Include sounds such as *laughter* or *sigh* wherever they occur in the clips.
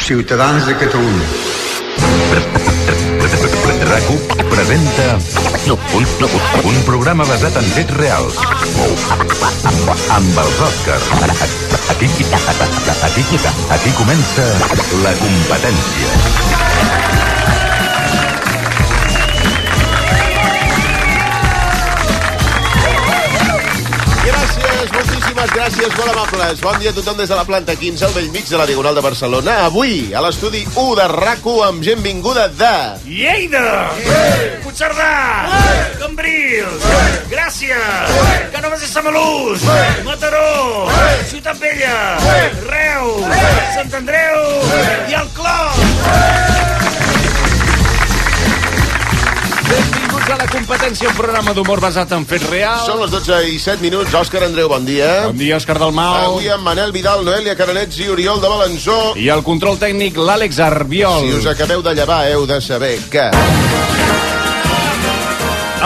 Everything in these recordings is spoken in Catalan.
Ciutadans de Catalunya. RAC1 presenta un, un programa basat en fets reals. Amb els Oscars. Aquí, aquí, aquí comença la competència. Gràcies, moltíssimes gràcies, molt amables. Bon dia a tothom des de la planta 15, al vell mig de la Diagonal de Barcelona. Avui, a l'estudi 1 de rac amb gent vinguda de... Lleida! Sí. Puigcerdà! Sí. Cambrils! Sí. Gràcia! Sí. Canoves i Samalús! Sí. Mataró! Sí. Ciutat Vella! Sí. Reus! Sí. Sant Andreu! Sí. I el Clos! Benvinguts a la competència, un programa d'humor basat en fets reals. Són les 12 i 7 minuts. Òscar Andreu, bon dia. Bon dia, Òscar Dalmau. Avui amb Manel Vidal, Noelia Caranets i Oriol de Balanzó. I el control tècnic, l'Àlex Arbiol. Si us acabeu de llevar, heu de saber que...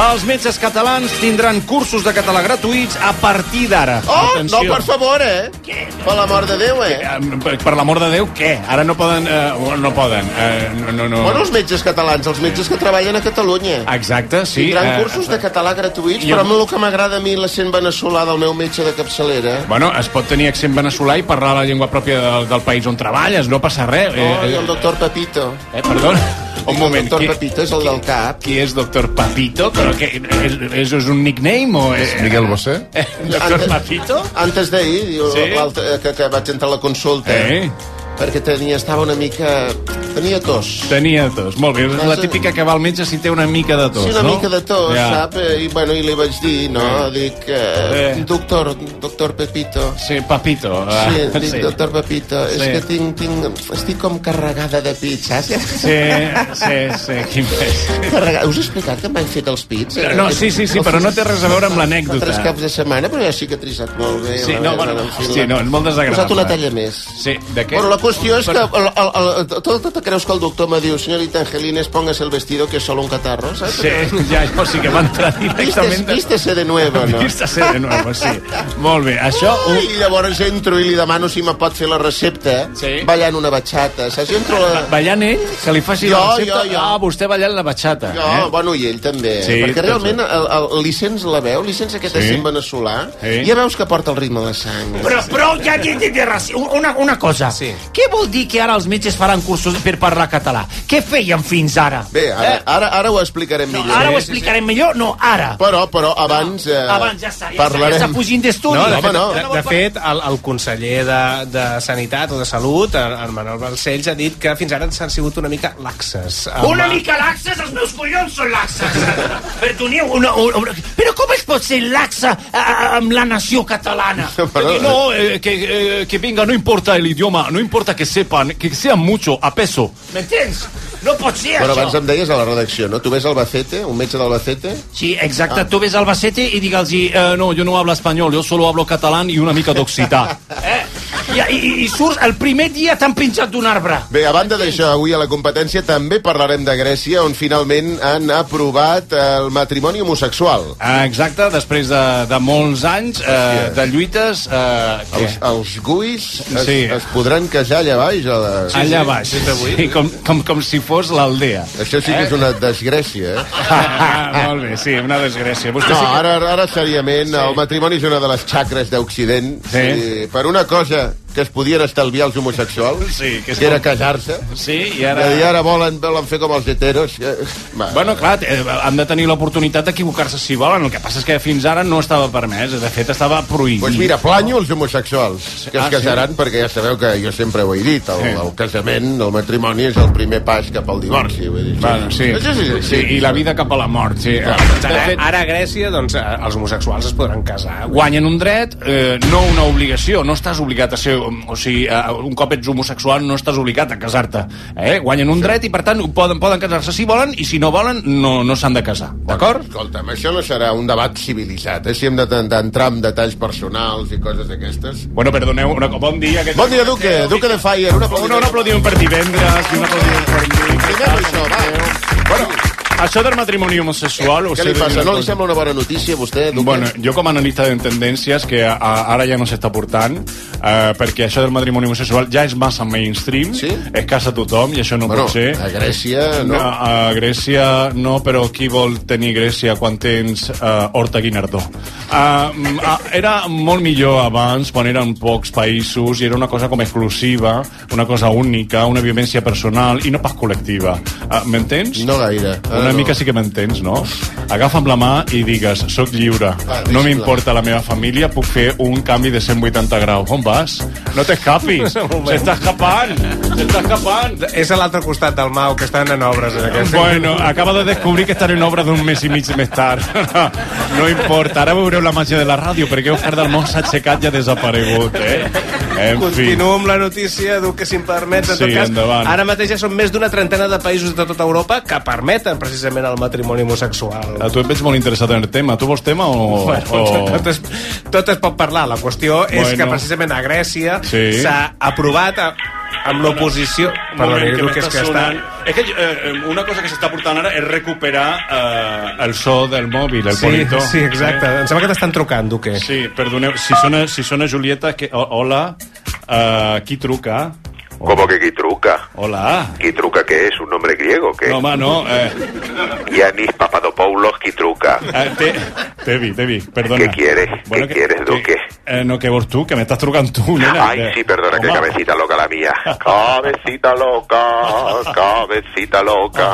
Els metges catalans tindran cursos de català gratuïts a partir d'ara. Oh, no, per favor, eh? Què? Per l'amor de Déu, eh? per, per l'amor de Déu, què? Ara no poden... Eh, no poden. Eh, no, no, no. Bueno, els metges catalans, els metges que treballen a Catalunya. Exacte, Ah, sí. eh, Tindran cursos de català gratuïts, jo- però amb el que m'agrada a mi l'accent veneçolà del meu metge de capçalera... Bueno, es pot tenir accent veneçolà i parlar la llengua pròpia del, del país on treballes, no passa res. Oh, i el doctor Pepito. eh, eh, perdona. Un moment. El doctor qui- Pepito és el del cap. Qui és Doctor Papito? Però que, és, és, és un nickname o... És Miguel Bosé? Doctor Papito? Antes d'ahir, diu Sí? l'altre, que, que vaig entrar a la consulta, Eh? perquè tenia, estava una mica... Tenia tos. Tenia tos. Molt bé, és la Vas- típica que va al metge si té una mica de tos, Sí, una no? mica de tos, sap? Eh, I, bueno, I li vaig dir, no? Dic, eh, Eh. doctor, doctor Pepito... Sí, Papito. ah, Sí, eh. dic, doctor Pepito, és Sí. que tinc, tinc, estic com carregada de pits, saps? Sí, sí, sí, quin pes. Carregada. Us he explicat que em van fet els pits? No, sí, sí, sí, Els però no pits té res a veure amb fa- l'anècdota. Fa tres caps de setmana, però ja ha cicatrizat molt bé. Sí, la no, meva, bueno, en fi, hòstia, no, és molt He desagradable. Posat una talla més. Sí, de què? Bueno, la qüestió és que el, el, el, tot, tot creus que el doctor me diu señorita Angelines, póngase el vestido que es solo un catarro, saps? Sí, ja, jo sí que m'ha entrat Vístese, directament... de- vístese de nuevo, no? Vístese de nou, sí. Molt bé, això... Ai, I llavors entro i li demano si me pot fer la recepta eh? Sí. ballant una batxata. Saps? Jo entro a la... Ballant ell, que li faci la Jo, recepta... jo, jo. Ah, vostè ballant la batxata, No, eh? bueno, i ell també. Sí, perquè tot realment eh, el, el, li sents la veu, li sents aquest Sí. accent veneçolà, Sí. ja veus que porta el ritme de sang. Però, però ja hi té una, una cosa. Sí. Què vol dir que ara els metges faran cursos per parlar català? Què feien fins ara? Eh? Bé, ara, Eh. ara, ara ho explicarem No, millor. ara ho explicarem millor? No, ara. Però, però, abans... Eh, Abans ja està, ja, està, ja parlarem... està fugint d'estudi. No, eh, de, home, fet, no. de, de fet, el, el conseller de, de Sanitat o de Salut, el, el Manuel Balcells, ha dit que fins ara ens han sigut una mica laxes. amb- Una mica laxes, els meus collons són laxes. Perdoneu, una, una, una... però com es pot ser laxa a, a, amb la nació catalana? Però, Eh, No, eh, que, eh, que venga, no importa el idioma, no importa que sepan, que sean mucho, a peso. M'entens? No pot ser però abans això. em deies a la redacció, no? Tu ves Albacete, un metge d'Albacete? Sí, Ah. exacte. Tu ves al Albacete i digue'ls... Sí, eh, no, yo no hablo español, yo solo hablo catalán y una mica *laughs* d'occità. Eh? I, i, I surts el primer dia t'han pinjat d'un arbre. Bé, a banda d'això, avui a la competència també parlarem de Grècia, on finalment han aprovat el matrimoni homosexual. Ah, Exacte, després de, de molts anys eh, de lluites... Eh, què? Els, els guis es, Sí. es podran casar allà baix. A la... Allà baix, sí, com, com, com si fos l'aldea. Això sí que és una desgràcia, eh? Ah, *laughs* molt bé, sí, una desgràcia. Vostè No, sí que- ara, ara seriament, el matrimoni és una de les xacres d'Occident. Sí. I Per una cosa que es podien estalviar els homosexuals, Sí, que que, és era com- casar-se, Sí, i ara... i ara... ara volen, volen fer com els heteros. eh, va. Bueno, clar, eh, han de tenir l'oportunitat d'equivocar-se si volen. El que passa és que fins ara no estava permès. De fet, estava prohibit. Doncs mira, planyo els homosexuals que Ah, sí? es casaran, perquè ja sabeu que jo sempre ho he dit, el, Sí. el casament, el matrimoni és el primer pas cap al divorci. Vull dir, Bueno, sí. Això sí, sí, I la vida cap a la mort, sí. eh, Ara, De fet, ara a Grècia, doncs, eh, els homosexuals es podran casar. guanyen un dret, eh, no una obligació. No estàs obligat a ser... O sigui, eh, un cop ets homosexual no estàs obligat a casar-te. Eh? Guanyen un dret i, per tant, poden, poden casar-se si volen i, si no volen, no, no s'han de casar. D'acord? Escolta'm, això no serà un debat civilitzat, eh? Si hem de- d'entrar en detalls personals i coses d'aquestes. Bueno, perdoneu, una, bon dia. Aquest... Bon dia, Duque, Duque de Fire. Un Un, un aplaudiment. aplaudiment per divendres i un aplaudiment per Primero això, va. Bueno, Això del matrimoni homosexual... o què li sigui, passa? No li cosa- sembla una bona notícia, a vostè, Duque? Bueno, yo como analista de tendencias que a- ahora ya no se está portando, eh, perquè això del matrimoni homosexual ja és massa mainstream, Sí? es casa tothom i això no Bueno, pot ser. a Grècia, no. No, a Grècia no, però qui vol tenir Grècia quan tens uh, Horta Guinardó? Uh, uh, era molt millor abans, quan eren pocs països, i era una cosa com exclusiva, una cosa única, una vivència personal i no pas col·lectiva. Uh, M'entens? No gaire. Ara Una no. mica sí que m'entens, no? Agafa'm la mà i digues, sóc lliure, Va, no Ah, deixa-la. m'importa la meva família, puc fer un canvi de 180 graus. On vas? No *laughs* t'escapis! Un moment. S'està escapant! S'està escapant! És a l'altre costat del mal, que estan en obres en aquest. Bueno, acaba de descobrir que estaré en obra d'un mes i mig més tard. *laughs* No importa, ara veureu la màgia de la ràdio, perquè Òscar del Mont s'ha aixecat i ha desaparegut, eh? En fi. Continuo amb la notícia, du que si em permets, en Sí, tot cas, endavant. ara mateix ja són més d'una trentena de països de tota Europa que permeten precisament el matrimoni homosexual. A tu et veig molt interessat en el tema. Tu vols tema o... Bueno, o... tot, es, tot es pot parlar. La qüestió és oh. Bueno. que precisament a Grècia s'ha Sí. aprovat a, amb l'oposició... Perdona, Moment, Edu, que és m'està que està... sonant. És que eh, eh, una cosa que s'està portant ara és recuperar eh, el so del mòbil, el Sí, bonito. sí, exacte. Em sembla que t'estan trucant, Duque. Eh? Sí, perdoneu, si sona, si sona Julieta, que... ho- Hola, eh, qui truca? ¿Cómo que qui truca? Hola. ¿Qui truca qué es? ¿Un nombre griego? ¿Qué? No, home, no. Eh, Yanis Papadopoulos, qui truca? Eh, te, Tevi, Tevi, perdona. ¿Qué quieres? ¿Qué quieres, Duque? eh, no, que vos tú, que me estás trucando tú, nena. Eh, Ay, que- sí, perdona, qué Home, cabecita loca *laughs* la mía. Cabecita loca, cabecita loca,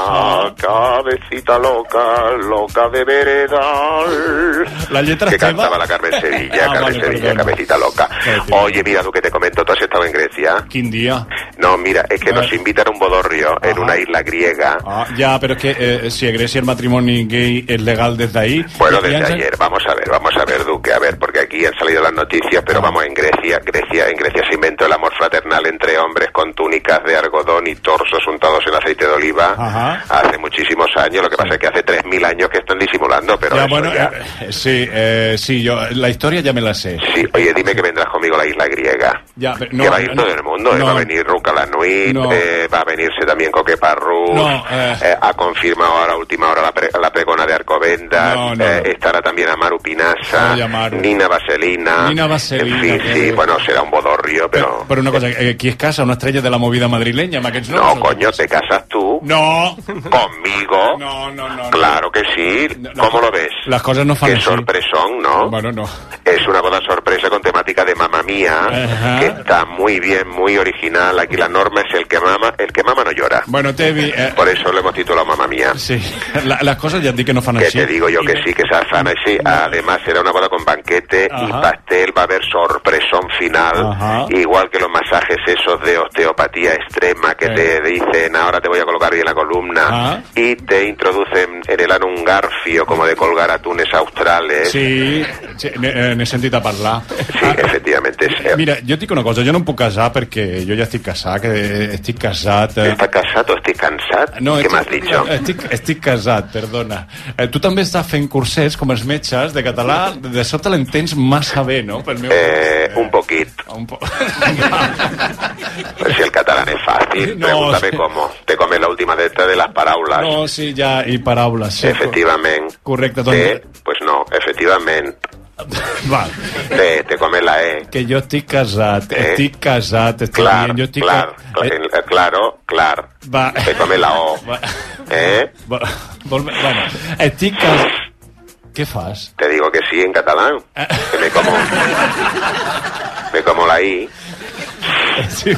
cabecita loca, loca de veredal. La letra que es teva? cantaba *laughs* la Carmen Sevilla, Ah, Carmen vale, Sevilla, perdona. cabecita loca. Cabecita. Oye, mira, tú que te comento, ¿tú has estado en Grecia? Quin dia. No, mira, es que Vale. nos invitan a un bodorrio en una isla griega. Ah, ya, pero es que eh, si en Grecia el matrimonio gay es legal desde ahí... Bueno, y- y desde han- ayer, vamos a ver, vamos a ver, Duque, a ver, porque aquí han salido las noticias, pero vamos, en Grecia, Grecia, en Grecia se inventó el amor fraternal entre hombres con túnicas de algodón y torsos untados en aceite de oliva Ajá. hace muchísimos años, lo que pasa es que hace 3.000 años que están disimulando, pero Ya, eso bueno, ya- eh, eh, sí, eh, sí, yo la historia ya me la sé. Sí, oye, dime que vendrás conmigo a la isla griega. Ya, pero no, que va a ir no, todo el mundo, eh, no. va a venir Ruca Lanuit, No. eh, va a venirse también Coque Parrus, No, eh. eh, ha confirmado ahora a última hora la, pre- la pregona de Arcovendas, No, no, eh, no. estará también Amaru Pinasa, Ay, Amaru. Nina Vaselina, Nina Vaselina, en fin, qué sí, bien. bueno, será un bodorrio, Pero, pero... pero una cosa, eh, ¿qui es casa? ¿Una estrella de la movida madrileña? ma, que ets no, nous, o què? coño, te casas *laughs* tú No, conmigo, no, no, no. no. claro que sí, No, no. ¿cómo lo ves? Las cosas no fan Qué así. sorpresón, ¿no? Bueno, no. Es una boda sorpresa con temática de mamá mía, Ajá. que está muy bien, muy original. Aquí la norma es el que mama, el que mama no llora. Bueno, Tevi, eh, Por eso lo hemos titulado mamá mía. sí, *laughs* la- las cosas ya di que no fan Que así. te digo yo que sí, que se afana y sí. Además, será una boda con banquete y Ajá. pastel. Va a haber sorpresón final. Ajá. Igual que los masajes esos de osteopatía extrema que te dicen ahora te voy a colocar bien la columna. Ajá. Y te introducen en el ano un garfio como de colgar atunes australes. Sí, sí n'he n'he sentit a parlar. Eh? Ah, Sí, efectivamente. sí. Mira, jo et dic una cosa, jo no em puc casar perquè jo ja estic casat, que estic casat... Eh... ¿Estás casado? ¿Estoy cansado? ¿Qué estic- me has dicho? Estic, estic casat, perdona. Eh, tu també estàs fent cursets com els metges de català, de sobte l'entens massa bé, no? Pel meu... Eh, un poquito. Un po... *laughs* Pues si el catalán es fácil, No, pregúntame sí. cómo. Te comes la última letra de las parábolas. no, sí, ja, i paraules. Sí, doncs, efectivamente. Correcto, Te- don- Pues no, *laughs* efectivamente. Val. Te, te comes la E. Que jo estic casat, Eh? estic casat, estic Claro, dient, jo estic... claro, ca- en- Pues, eh, claro, claro. Eh. Va. Te comes la O. Va. ¿Eh? Vol, vol, bueno, estic casat... Què fas? Te digo que sí en catalán. Que me como. Me como la I. Sí.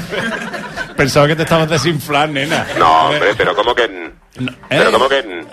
Pensava que t'estaves desinflant, nena. No, hombre, pero ¿cómo que.? n? No, eh? Pero ¿cómo que.? *laughs* n?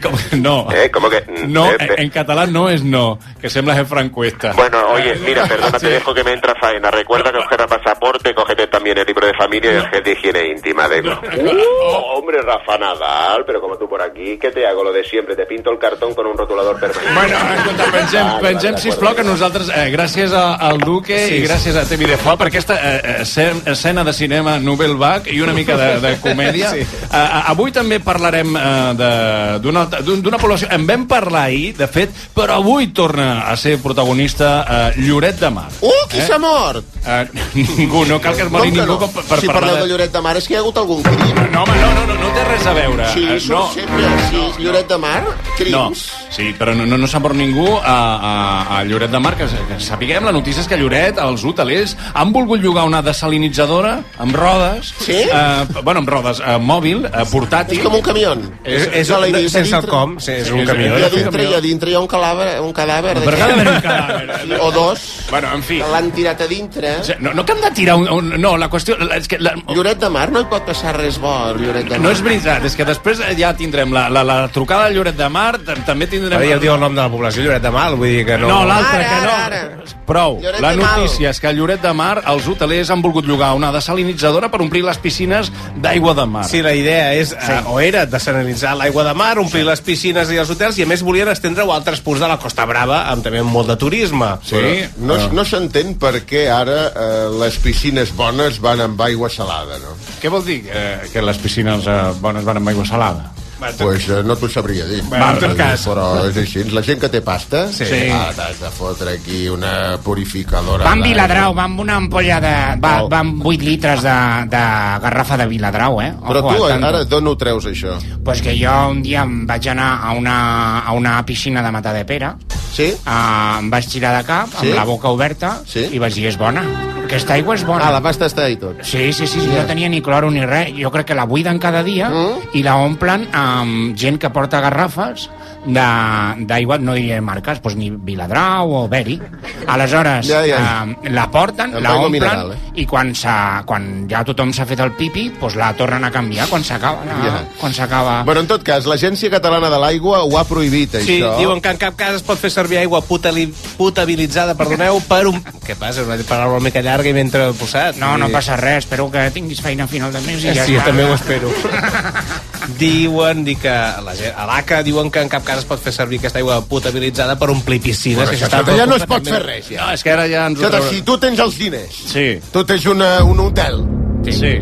Com que no. ¿Eh? ¿Cómo que.? n? No, Eh, en, pe- en català no és no, que sembles el francuesta. Bueno, oye, mira, perdona, te dejo que me entra faena. Recuerda que coger el pasaporte, cógete también el libro de familia y el gel de higiene íntima. De... Uh, hombre, Rafa Nadal, pero como tú por aquí, ¿qué te hago? Lo de siempre, te pinto el cartón con un rotulador permanente. Bueno, escolta, pensem, Vale, Ah, vale, pensem d'acord. sisplau, que nosaltres, eh, gràcies a, al Duque sí, i gràcies a Temi de Fla per aquesta eh, escen- escena de cinema Nouvelle Vague i una mica de, de comèdia. Sí. Eh, eh, avui també parlarem eh, de- d'una altra- d'un- d'una població... En vam parlar ahir, de fet, però avui torna a ser protagonista eh, Lloret de Mar. Uh, qui s'ha mort? eh, *laughs* ningú, no cal que es mori Com que ningú no? per, per si parlar parleu de de... Lloret de Mar és que hi ha hagut algun crim. No, home, no, no, no, no té res a veure. Sí, Eh, surt no, sempre. Sí, Lloret de Mar, No, crims. sí, però no, no, no s'ha mort ningú a, a, a Lloret de Mar, que, que sapiguem, la notícia és que a Lloret, els hotelers, han volgut llogar una desalinitzadora amb rodes, Sí? eh, bueno, amb rodes, eh, mòbil, eh, portàtil... És com un camió. És, és, la idea és sense el dintre. com, sí, és un és- camió. I és- a de fet. dintre, i a dintre hi ha un cadàver, un cadàver de Per gent. cada vegada un cadàver. O dos. Bueno, en fi. que L'han tirat a dintre. No, no que hem de tirar un... un no, la qüestió... la- És que la, Lloret de Mar no hi pot passar res bo, a Lloret de Mar. no és veritat, és que després eh, ja tindrem la, la, la trucada de Lloret de Mar, tam- també tindrem... Ara ja diu el nom de la població, Lloret de Mal, vull dir que no... No, l'altre Ara, que no. ara, Prou. Lloret la de Mar. notícia és que a Lloret de Mar els hotelers han volgut llogar una desalinitzadora per omplir les piscines d'aigua de mar. Sí, la idea és, sí. o era desanalitzar l'aigua de mar, omplir les piscines i els hotels, i a més volien estendre-ho a altres punts de la Costa Brava, amb també molt de turisme. Sí. Ah. No, no s'entén per què ara eh, les piscines bones van amb aigua salada, no? Què vol dir eh, que les piscines eh, bones van amb aigua salada? Doncs pues, eh, no t'ho sabria dir. Va, en tot cas. Però és així. La gent que té pasta, sí. ah, t'has de fotre aquí una purificadora. Va amb d'aigua. Viladrau, va amb una ampolla de... Va, Oh. va amb 8 litres de, de garrafa de Viladrau, eh? Però tu, al tanto. ara, d'on ho treus, això? Pues que jo un dia em vaig anar a una, a una piscina de Mata de Pere, Sí? eh, em vaig tirar de cap, amb Sí? la boca oberta, Sí? i vaig dir, és bona. Aquesta aigua és bona. Ah, la pasta està i tot. Sí, sí, sí, sí, no tenia ni cloro ni res. Jo crec que la buiden cada dia mm. i la omplen amb gent que porta garrafes de- d'aigua, no diré marques, doncs ni Viladrau o Beri. Aleshores, Ja, ja. eh, la porten, Amb la aigua omplen mineral, eh? i quan, s'ha- quan ja tothom s'ha fet el pipi, doncs la tornen a canviar quan s'acaba. la- Ja. Quan s'acaba... Bueno, en tot cas, l'Agència Catalana de l'Aigua ho ha prohibit, Ah. Sí, això. diuen que en cap cas es pot fer servir aigua putali- potabilitzada, perdoneu, per un... Què passa? Una paraula una mica llarga i ben posat. No, no passa res, espero que tinguis feina a final de mes i Sí, ja sí està. també ho espero. *laughs* diuen di que la gent, a l'ACA diuen que en cap cas es pot fer servir aquesta aigua potabilitzada per omplir piscines. Però que això, s'està això ja no es pot completament- fer res, ja. No, és que ara ja ens ho Escolta, traurà- si tu tens els diners, Sí, tu tens una, un hotel, sí. sí.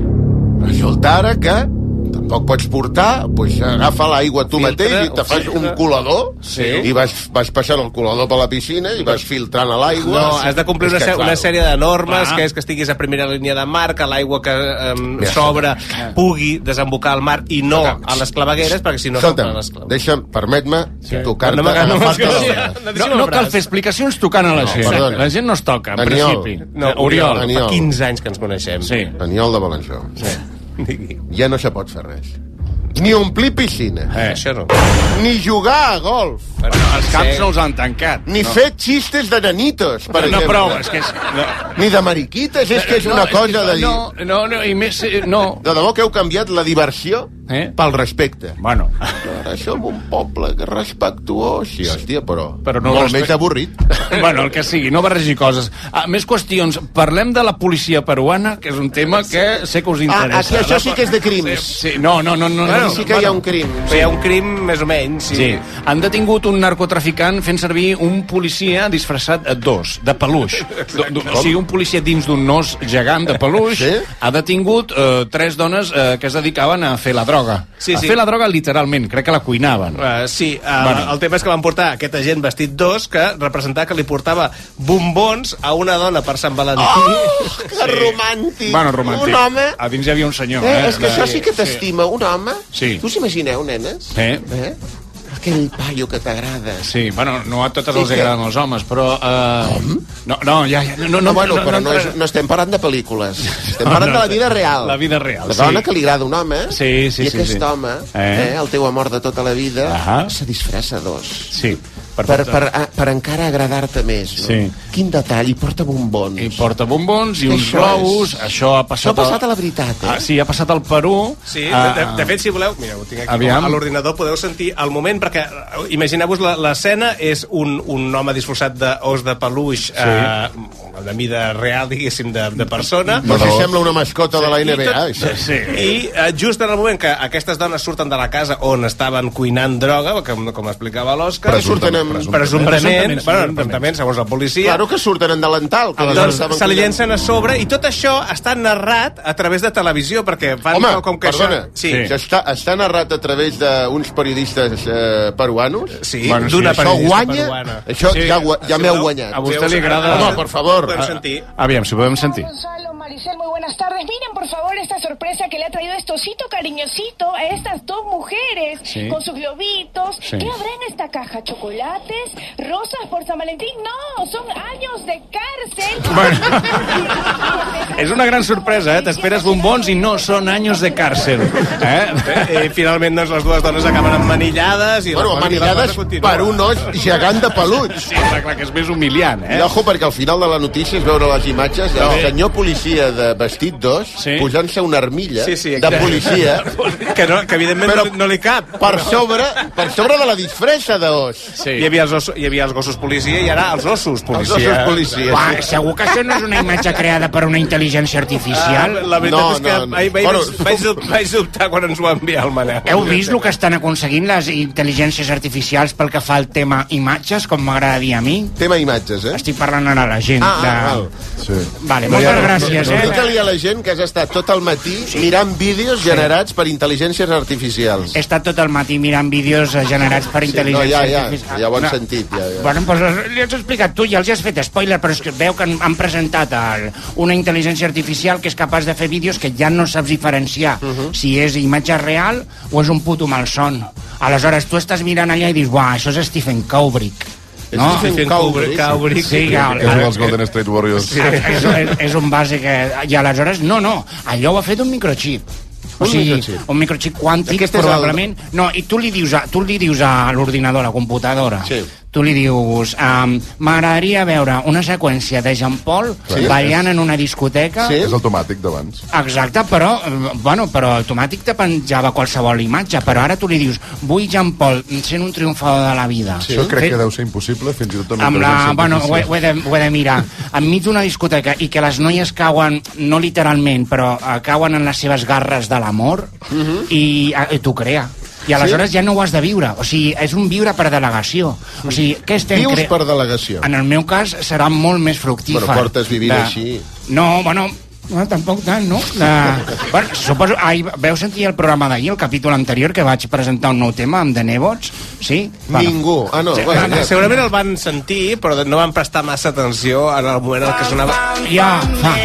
Resulta ara que tampoc pots portar, doncs agafa l'aigua tu Filtre, mateix i te fas filtre. un colador Sí. i vas, vas passant el colador per la piscina i vas filtrant a l'aigua. No, has de complir És una, que, que, clar, una sèrie de normes, Clar. que és que estiguis a primera línia de mar, que l'aigua que um, s'obre pugui desembocar al mar i no a les clavegueres, perquè si no s'omplen les Escolta'm, clavegueres. deixa'm, permet-me sí. tocar-te No m'agrada, no agafar-te m'agrada. la mà. No, no cal fer explicacions tocant a la gent. perdona. La gent no es toca, en Daniel. principi. No, Eh, Oriol. Daniel. Fa 15 anys que ens coneixem. Sí. Aniol de Balançó. Sí. Ja no se pot fer res. Ni omplir piscina, Eh. Això no. ni jugar a golf, Bueno, els camps Sí. no els han tancat. ni no. fer xistes de nanitos, per No, exemple. prou, és que... És, no. Ni de mariquites, és que és una no, cosa de dir... No, no, no, i més... eh, No. De debò que heu canviat la diversió eh? Eh? pel respecte. Bueno, Ara som un poble que respectuós. Sí, hòstia, però, Però no molt respect- més avorrit. bueno, el que sigui, no barregi coses. Ah, més qüestions. Parlem de la policia peruana, que és un tema que sé que us interessa. Ah, aquí això sí que és de crims. Sí, sí, no, no, no. no, Aquí no sí que hi ha un crim. Però Hi ha un crim, més o menys. Sí. Han detingut un narcotraficant fent servir un policia disfressat a dos, de peluix. D -d o sigui, un policia dins d'un nos gegant de peluix Sí? ha detingut eh, tres dones eh, que es dedicaven a fer la droga. Sí, a sí. fer la droga literalment, crec que la cuinaven. Uh, sí, uh, Bueno. bueno. el tema és que van portar aquest agent vestit dos que representava que li portava bombons a una dona per Sant Valentí. Oh, que romàntic. Bueno, romàntic. Un home... A dins hi havia un senyor. Eh, Eh? és que això sí que t'estima, un home. Sí. Us imagineu, nenes? Eh? eh? Aquell paio que t'agrada. Sí, bueno, no a totes Sí, els sí. agraden els homes, però... Eh... No, no, ja, ja, no, no, No, bueno, però no, és, entra- no estem parlant de pel·lícules. Estem *laughs* No, parlant no, de la vida real. la vida real, La sí. dona que li agrada un home, Sí, sí, i sí, aquest sí. home, Eh? Ah, eh? el teu amor de tota la vida, Ahà. se disfressa dos. Sí, Per, per, per, ah. a, per encara agradar-te més. No? Sí. Quin detall, i porta bombons. I porta bombons i uns Això globus, és. això ha Això passat... ha passat a la veritat, eh? Ah, sí, ha passat al Perú. Sí, Ah, de, de, de fet, si voleu, mira, ho tinc aquí Aviam. Aviam. a l'ordinador, podeu sentir el moment, perquè eh, imagineu-vos la- l'escena, és un, un home disfressat d'os de peluix, sí. eh, de mida real, diguéssim, de, de persona, Però si sembla una mascota de la NBA, això. Sí. i eh, just en el moment que aquestes dones surten de la casa on estaven cuinant droga, com, com explicava l'Òscar... Però surten amb Presumptament, bueno, presumptament, segons la policia, Claro que surten en delantal. Que doncs se li collant. llencen a sobre i tot això està narrat a través de televisió perquè fan Home, com que perdona, això... Sí, sí. Està, està narrat a través d'uns periodistes eh, peruanos? sí Bueno, sí, d'una això Això periodista guanya? peruana. Això Sí. ja, gua- ja m'heu guanyat. A vostè li agrada... Home, per favor. Ah. Podem sentir. Ah, Aviam, si podem sentir. Gonzalo, Maricel, muy buenas tardes. Miren, por favor, esta sorpresa que le ha traído Estocito Cariñosito a estas dos mujeres Sí. con sus globitos. Sí. ¿Qué habrá en esta caja? ¿Chocolates? ¿Rosas por San Valentín? No, son años de cárcel. Bueno. És una gran sorpresa, eh? T'esperes bombons i no són anys de càrcel. Eh? Eh, I finalment doncs, les dues dones acaben emmanillades i la Bueno, cosa- i la manillades cosa continua. per un os gegant de peluig. Sí, clar, clar, que és més humiliant, I eh? ojo, perquè al final de la notícia es veure les imatges del senyor policia de vestit d'os Sí. posant-se una armilla Sí, sí, de exacte. policia *laughs* Que, no, que evidentment Però- no, no li cap. per sobre, per sobre de la disfressa d'os. Sí. Hi, havia els os, hi havia els gossos policia i ara els ossos Els policia. ossos policies. Uah, Ah, segur que això no és una imatge creada per una intel·ligència Ah, artificial. la veritat No, és que no, no. ahir vaig, Bueno, vaig, dub- vaig dubtar quan ens ho va enviar el Manel. Heu vist el que estan aconseguint les intel·ligències artificials pel que fa al tema imatges, com m'agrada dir a mi? Tema imatges, eh? Estic parlant ara a la gent. Ah, de... ah, val. Vale, moltes gràcies, eh? Explica-li a la gent que has estat tot el matí mirant vídeos generats per intel·ligències artificials. He estat tot el matí mirant vídeos eh, generats per No, intel·ligència ja, ja, artificial. ja ho No. han sentit. Ja, ja. Bueno, doncs els- li has explicat tu, ja els has fet spoiler, però és que veu que han, han presentat el, una intel·ligència artificial que és capaç de fer vídeos que ja no saps diferenciar Mhm. si és imatge real o és un puto malson. Aleshores, tu estàs mirant allà i dius, uah, això és Stephen Kubrick. No? Stephen Kubrick. Kubrick. Sí, que, És un dels Golden State Warriors. Sí, és, és, és un base que... I aleshores, no, no, allò ho ha fet un microchip. O Un sigui, microchip. un microchip quàntic, Aquest és el- probablement... No, i tu li dius a, tu li dius a l'ordinador, a la computadora, Sí. tu li dius, um, m'agradaria veure una seqüència de Jean Paul Sí. ballant en una discoteca... Sí. És automàtic d'abans. Exacte, però, eh, bueno, però automàtic te penjava qualsevol imatge, però ara tu li dius, vull Jean Paul sent un triomfador de la vida. Això crec Fe- que deu ser impossible, fins i tot amb, amb la, intel·ligència bueno, ho he, artificial. ho, he de, ho he de mirar enmig d'una discoteca i que les noies cauen no literalment, però eh, cauen en les seves garres de l'amor Mhm. i, eh, i t'ho crea i aleshores ja no ho has de viure o sigui, és un viure per delegació o sigui, què estem Mhm. Vius cre- per delegació. en el meu cas serà molt més fructífer Bueno, portes vivint així. no, bueno, no, tampoc tant, no? De... *laughs* bueno, suposo, ahir veu sentir el programa d'ahir, el capítol anterior, que vaig presentar un nou tema amb The Nebots, sí? Ningú. Ah, no, bueno, ja. Segurament el van sentir, però no van prestar massa atenció en el moment en què sonava... Ja, fa,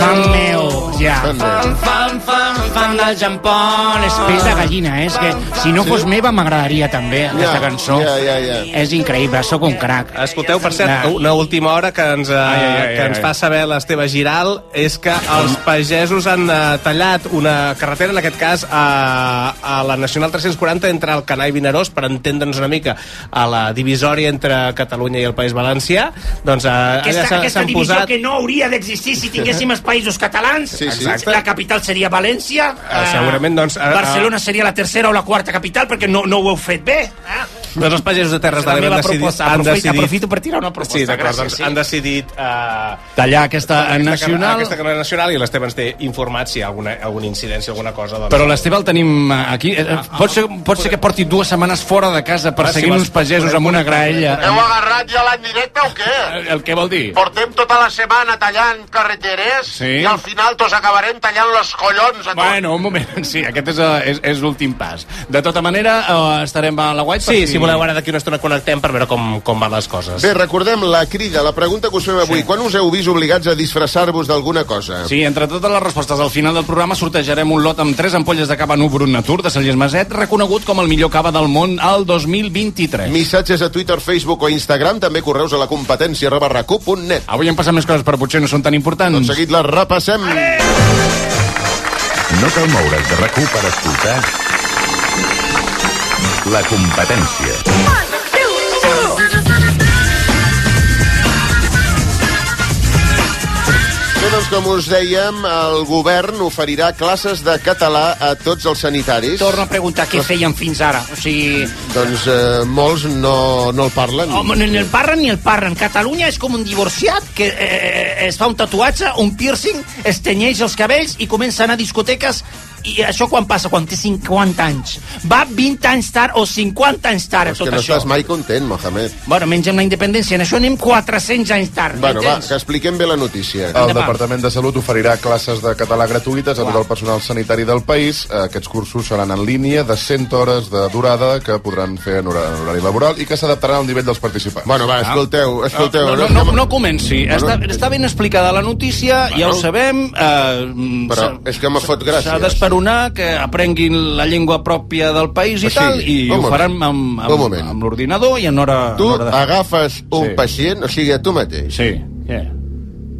fan meu, ja. Fan meu. Fan, fan, fan, fan del Jean Paul. És peix de gallina, eh? És que si no fos meva m'agradaria també aquesta cançó. ja, ja, ja. És increïble, sóc un crac. Eh, Escolteu, per cert, Ja. una última hora que ens, eh, Ai, ai, ai, que ens ai. fa saber l'Esteve Giral és que els pagesos han eh, tallat una carretera, en aquest cas a, a la Nacional 340 entre el Canà i Vinaròs, per entendre'ns una mica a la divisòria entre Catalunya i el País Valencià doncs eh, allà Aquesta, s'ha- aquesta s'han divisió posat que no hauria d'existir si tinguéssim els països catalans. Sí, sí. La capital seria València. Ah, segurament, doncs, ah, ah. Barcelona seria la tercera o la quarta capital, perquè no, no ho heu fet bé. Eh? doncs els pagesos de Terres de la l'Ebre meva han decidit, proposta. han Aprofito, decidit aprofito per tirar una proposta. Sí, d'acord, Gràcies, doncs sí. han decidit eh, Tallar aquesta nacional... Aquesta carrera nacional i l'Esteve ens té informat si hi ha alguna, alguna incidència, alguna cosa. Doncs, Però l'Esteve el tenim eh, aquí. Eh, eh, Pot ser, pot ser que porti dues setmanes fora de casa perseguint Ah, sí, uns pagesos amb una graella. Heu agarrat ja l'any directe o què? El què vol dir? Portem tota la setmana tallant carreteres Sí. i al final tots acabarem tallant los collons a tots. Bueno, un moment, *laughs* sí, aquest és, eh, és, és l'últim pas. De tota manera, eh, estarem a la White per Sí, si voleu ara d'aquí una estona connectem per veure com, com van les coses. Bé, recordem la crida, la pregunta que us fem avui. Quan us heu vist obligats a disfressar-vos d'alguna cosa? Sí, entre totes les respostes al final del programa sortejarem un lot amb 3 ampolles de cava Nou Brut Natur de Cellers Maset, reconegut com el millor cava del món al 2023. Missatges a Twitter, Facebook o Instagram, també correus a la competència arroba racu.net. Avui hem passat més coses, però potser no són tan importants. Tot seguit les repassem. No cal moure's de rac per escoltar la competència. Bé, doncs, com us dèiem, el govern oferirà classes de català a tots els sanitaris. Torno a preguntar què feien fins ara. O sigui, Doncs eh, molts no, no el parlen. Home, ni el parlen ni el parlen. Catalunya és com un divorciat que eh, es fa un tatuatge, un piercing, es tenyeix els cabells i comença a anar a discoteques i això quan passa? Quan té 50 anys. Va 20 anys tard o 50 anys tard a tot que no això. estàs mai content, Mohamed. Bueno, menys amb la independència. En això anem 400 anys tard. Bueno, va, m'entens? que expliquem bé la notícia. El Departament de Salut oferirà classes de català gratuïtes a tot el personal sanitari del país. Eh, Aquests cursos seran en línia de 100 hores de durada que podran fer en hora- en horari laboral i que s'adaptaran al nivell dels participants. Ah. Bueno, va, escolteu, escolteu. Ah. eh? No, no, no, no comenci. eh, Està, està ben explicada la notícia, ja ho Bueno. sabem. Eh, Però s'ha- és que m'ha fot gràcia. S'ha d'esperonar que aprenguin la llengua pròpia del país i Sí, tal, i un ho moment. faran amb, Un amb, moment. amb l'ordinador i en hora... Tu ah. en hora de... agafes un Ah, Sí. pacient, o sigui, a tu mateix. Sí. Yeah.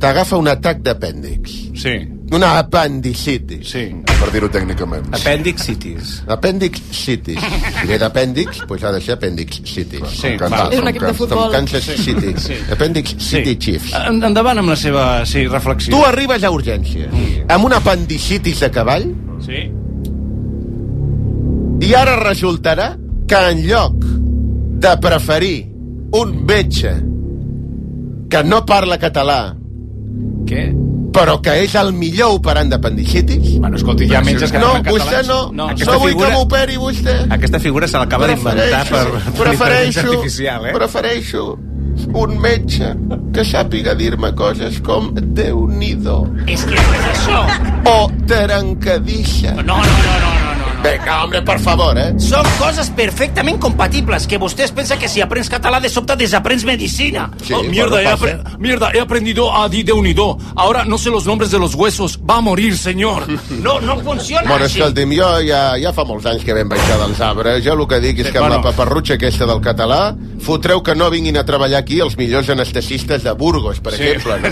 T'agafa un atac d'apèndix. Sí. Una apendicitis. Sí. Per dir-ho tècnicament. Appendicitis. Appendicitis. Diré d'apèndix, doncs ha de ser appendicitis. Sí, val. És un equip de futbol. Com Kansas City. Sí. Appendix City Chiefs. En- Endavant amb la seva sí, reflexió. Tu arribes a urgències amb una apendicitis a cavall Sí. i ara resultarà que en lloc de preferir un metge que no parla català Què? però que és el millor operant d'apendicitis bueno, escolti, hi ha metges que no, parlen català. vostè no, no, Aquesta no vull figura- que m'operi vostè Aquesta figura se l'acaba d'inventar per, per prefereixo, intel·ligència artificial, eh? prefereixo un metge que sàpiga dir-me coses com déu nhi És que és això. o trencadissa. No, no, no, no, no. no. Vinga, hombre, per favor, eh? Són coses perfectament compatibles, que vostès pensen que si aprens català de sobte desaprens medicina. Sí, Oh, mierda, he bueno, apre- passa. mierda, he aprendido a di de unido. Ahora no sé los nombres de los huesos. Va a morir, *laughs* señor. No, no funciona Ah, Bueno, així. escolti'm, jo ja, ja fa molts anys que vam baixar dels arbres. Jo el que dic és que amb la paparrutxa aquesta del català fotreu que no vinguin a treballar aquí els millors anestesistes de Burgos, per *laughs* Sí. exemple.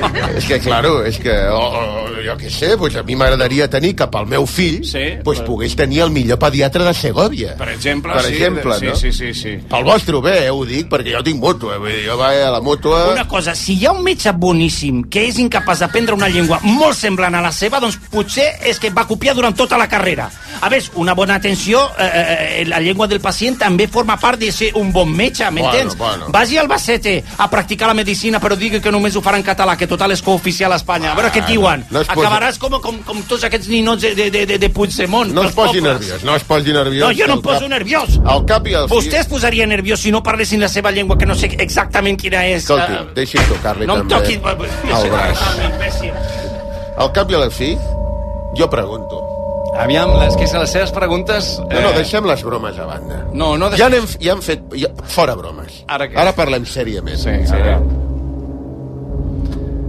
No? és que, claro, és que, oh, oh, jo què sé, pues a mi m'agradaria tenir que pel meu fill Sí, pues, però- pogués tenir el millor pediatre de Segòvia. Per exemple, Per sí, exemple, sí, no? sí, sí, sí. Pel vostre bé, eh, ho dic, perquè jo tinc mútua. Vull dir, jo vaig a la mútua... Una cosa, si hi ha un metge boníssim que és incapaç d'aprendre una llengua molt semblant a la seva, doncs potser és que va copiar durant tota la carrera. A més, una bona atenció, eh, eh, la llengua del pacient també forma part de ser un bon metge, m'entens? Bueno, bueno. Vagi al Albacete a practicar la medicina, però digui que només ho farà en català, que total és cooficial a Espanya. A veure què et diuen. no es posi- Acabaràs com, com, com tots aquests ninots de, de, de, de, de Puigdemont. No es dels posi pobles. nerviós, no es posi nerviós. No, jo no El em poso cap- nerviós. El cap i el fi- Vostè es posaria nerviós si no parlessin la seva llengua, que no sé exactament quina és. Escolti, Ah. Eh, deixi'm tocar-li no em també toquis... el braç. Al cap i a la fi, jo pregunto. Aviam, les, que les seves preguntes... eh, No, no, deixem les bromes a banda. No, no, Ja n'hem ja hem fet... Ja, fora bromes. Ara què? Ara parlem sèriament. Sí, sí. Ara.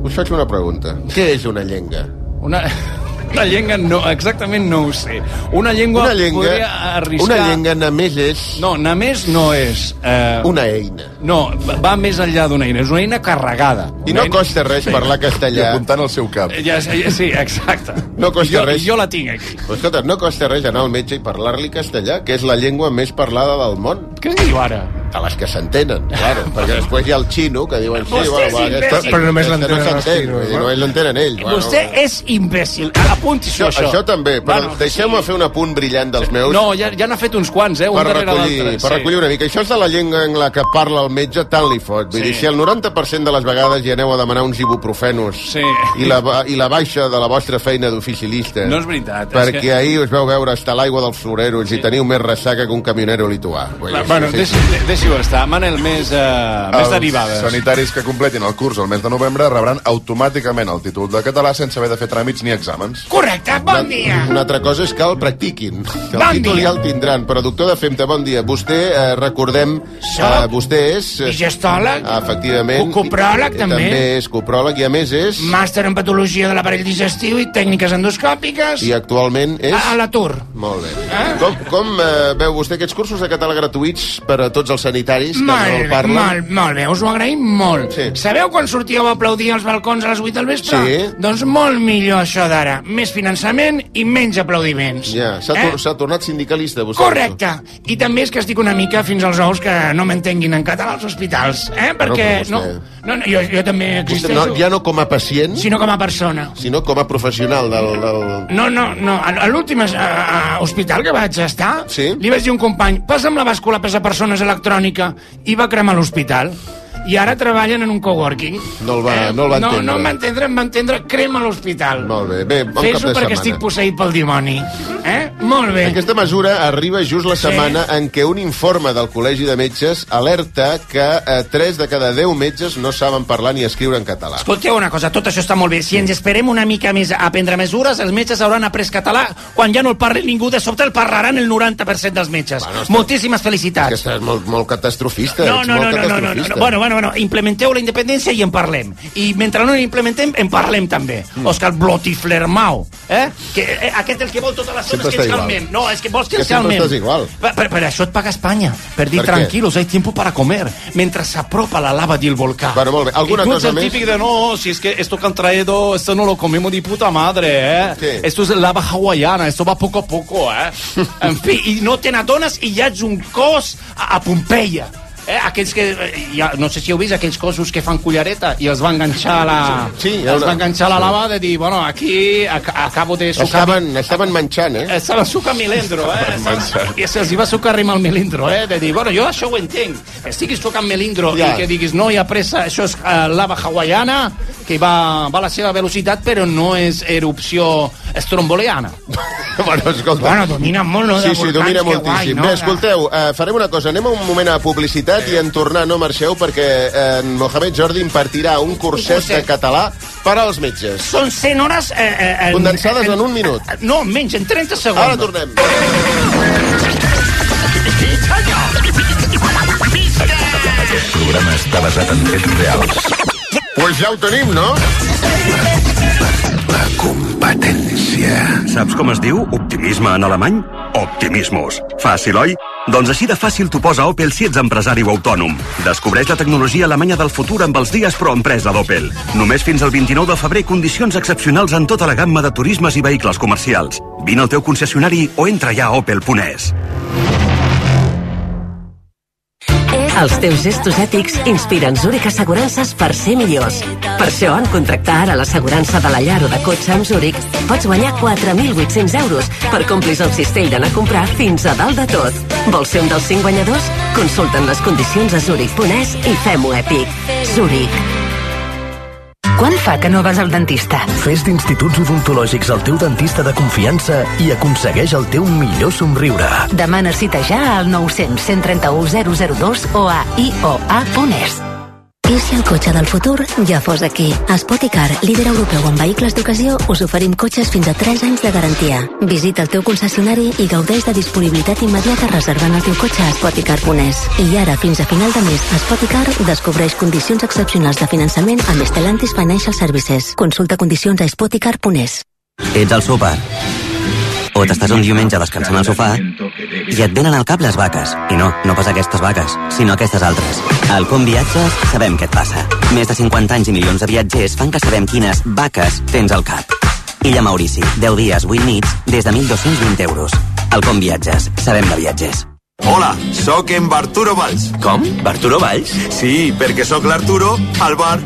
Us faig una pregunta. Què és una llenga? Una, *laughs* una llengua no, exactament no ho sé. Una llengua, Una llenga, podria arriscar... una llenga només és No, només no és... Eh, una eina. No, va- va més enllà d'una eina. És una eina carregada. I Una no eina- costa res parlar I castellà. apuntant al seu cap. Ja, ja, sí, exacte. No costa jo, res. Jo la tinc aquí. Però escolta, no costa res anar al metge i parlar-li castellà, que és la llengua més parlada del món. Què en diu ara? A les que s'entenen, *laughs* claro. perquè després hi ha el xino, que diuen... Sí, Vostè és imbècil. Però només aquesta l'entenen no els s'entén, xinos, vull dir, no? Només l'entenen ells. Bueno, Vostè és imbècil. Apunti-s'ho, Això, això. això també, però Bueno, deixeu-me fer un apunt brillant dels meus No, ja, ja n'ha fet uns quants, eh? Un per, darrere recollir, l'altre. per recollir una mica. Això és de la llengua en la que parla el metge, tant li fot. Vull Sí. dir, si el 90% de les vegades hi aneu a demanar uns ibuprofenos Sí. i, la, ba- i la baixa de la vostra feina d'oficilista... No és veritat, és Perquè que- ahir us veu veure estar l'aigua dels floreros i teniu més ressaca que un camionero lituà. Vull dir, Va, bueno, sí, sí. deixi, de- deixi-ho estar. Manel, més, uh, més derivades. Els sanitaris que completin el curs el mes de novembre rebran automàticament el títol de català sense haver de fer tràmits ni exàmens. Correcte, bon dia. Una altra cosa és que el practiquin. Que el Bon títol dia. ja el tindran. Però, doctor de Femta, bon dia. Vostè, eh, recordem, eh, Soc vostè és... eh, digestòleg, ah, Efectivament. co- copròleg, I- també. També és copròleg i, a més, és... Màster en patologia de l'aparell digestiu i tècniques endoscòpiques. I actualment és... A, a l'atur. Molt bé. Com, com eh, veu vostè aquests cursos de català gratuïts per a tots els sanitaris que no el Molt, parlen? molt, molt bé, us ho agraïm molt. Sí. Sabeu quan sortíeu a aplaudir als balcons a les 8 del vespre? Sí. Doncs molt millor això d'ara. Més finançament i menys aplaudiments. Ja, s'ha Eh? tor- s'ha tornat sindicalista, vostè. Correcte. I també és que estic una mica fins als ous que no m'entenguin en català als hospitals, eh? Perquè però no, vostè- no, no, jo, jo també Vostè, existeixo, no, ja no com a pacient, sinó com a persona. sinó com a professional del... del... No, no, no. A a l'últim eh, eh, hospital que vaig estar, Sí. li vaig dir a un company, passa'm la bàscula pesa persones electrònica, i va cremar l'hospital. i ara treballen en un coworking. Eh, No el va, Eh, no el va entendre. No, no em va entendre, em va entendre crema a l'hospital. Molt bé, bé, bon cap de Fes-ho perquè setmana. estic posseït pel dimoni. Eh? Molt bé. Aquesta mesura arriba just la Sí. setmana en què un informe del Col·legi de Metges alerta que eh, 3 de cada 10 metges no saben parlar ni escriure en català. Escolteu una cosa, tot això està molt bé. Si ens esperem una mica més a prendre mesures, els metges hauran après català. Quan ja no el parli ningú, de sobte el parlaran el 90% dels metges. Bueno, està- Moltíssimes felicitats. Que estàs molt, molt catastrofista. No, ets no, no, molt no, no, no, no, catastrofista. Bueno, bueno, bueno, implementeu la independència i en parlem. I mentre no la implementem, en parlem també. Mm. Òscar Blotiflermau, eh? Que, eh, aquest el que vol tota la zona Sempre és que ens està calmem. igual. No, és que vols que Que ens sempre calmem. estàs igual. Per, per, per això et paga Espanya, per dir Per què? tranquilos, hay tiempo para comer, mentre s'apropa la lava del volcà. Bueno, molt bé. Alguna y tú cosa eres el més? típico de no, si es que esto que han traído, esto no lo comimos ni puta madre, ¿eh? ¿Qué? Esto es lava hawaiana, esto va poco a *laughs* poco, ¿eh? En fi, i no te n'adones i ja ets un cos a, a Pompeia. Eh, aquells que, eh, ja, no sé si heu vist aquells cossos que fan cullereta i els va enganxar a la... Sí, sí, hi ha els una- va enganxar a la lava de dir, bueno, aquí ac acabo de sucar... Estaven, estaven menjant, eh? Estava sucar milindro, *laughs* eh? Estava- I se'ls hi va sucar rima al milindro, eh? De dir, bueno, jo això ho entenc. Estiguis tocant milindro Ja. i que diguis, no, hi ha pressa, això és eh, lava hawaiana, que va, va a la seva velocitat, però no és erupció estromboliana. *laughs* bueno, escolta. Bueno, domina molt, Oh, no? Sí, De sí, volcans, domina que guai, moltíssim. no? Bé, escolteu, eh, farem una cosa. Anem un moment a publicitat i en tornar no marxeu perquè eh, en Mohamed Jordi impartirà un curset, curset. de català per als metges. Són 100 hores... Eh, eh, en, Condensades en un minut. No, menys, en 30 segons. Ara tornem. Aquest programa està basat en fets reals. Pues ja ho tenim, no? Competència. Saps com es diu optimisme en alemany? Optimismus. Fàcil, oi? Doncs així de fàcil t'ho posa Opel si ets empresari o autònom. Descobreix la tecnologia alemanya del futur amb els dies pro empresa d'Opel. Només fins al 29 de febrer condicions excepcionals en tota la gamma de turismes i vehicles comercials. Vine al teu concessionari o entra ja a opel.es. Els teus gestos ètics inspiren Zurich Assegurances per ser millors. Per això, en contractar ara l'assegurança de la llar o de cotxe amb Zurich, pots guanyar 4.800 euros per complis el cistell d'anar a comprar fins a dalt de tot. Vols ser un dels 5 guanyadors? Consulta'n les condicions a zurich.es i fem-ho èpic. Zurich. Quan fa que no vas al dentista? Fes d'Instituts Odontològics el teu dentista de confiança i aconsegueix el teu millor somriure. Demana cita ja al 900 131 002 o a ioa.es. I si el cotxe del futur ja fos aquí? A Spoticar, líder europeu en vehicles d'ocasió, us oferim cotxes fins a 3 anys de garantia. Visita el teu concessionari i gaudeix de disponibilitat immediata reservant el teu cotxe a Spoticar.es. I ara, fins a final de mes, Spoticar descobreix condicions excepcionals de finançament amb Stellantis Financial Services. Consulta condicions a Spoticar.es. Ets al súper. O t'estàs un diumenge descansant al sofà i et venen al cap les vaques. I no, no pas aquestes vaques, sinó aquestes altres. Al Com Viatges sabem què et passa. Més de 50 anys i milions de viatgers fan que sabem quines vaques tens al cap. Illa Maurici, 10 dies, 8 nits, des de 1.220 euros. Al Com Viatges, sabem de viatgers. Hola, sóc en Barturo Valls. Com? Barturo Valls? Sí, perquè sóc l'Arturo al bar.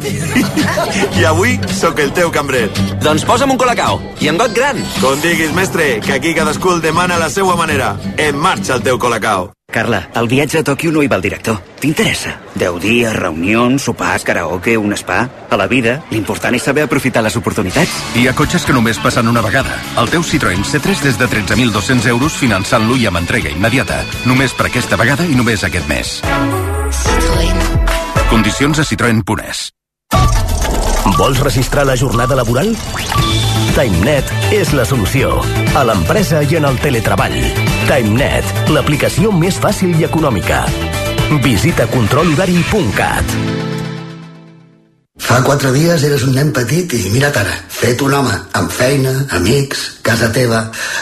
I avui sóc el teu cambrer. Doncs posa'm un colacao i en got gran. Com diguis, mestre, que aquí cadascú el demana a la seva manera. En marxa el teu colacao. Carla, el viatge a Tòquio no hi va el director. T'interessa? Deu dies, reunions, sopars, karaoke, un spa... A la vida, l'important és saber aprofitar les oportunitats. Hi ha cotxes que només passen una vegada. El teu Citroën C3 des de 13.200 euros finançant-lo i amb entrega immediata. Només per aquesta vegada i només aquest mes. Condicions a Citroën Punès. Vols registrar la jornada laboral? TimeNet és la solució. A l'empresa i en el teletreball. TimeNet, l'aplicació més fàcil i econòmica. Visita controlhorari.cat. Fa quatre dies eres un nen petit i mira't ara, fet un home, amb feina, amics, casa teva...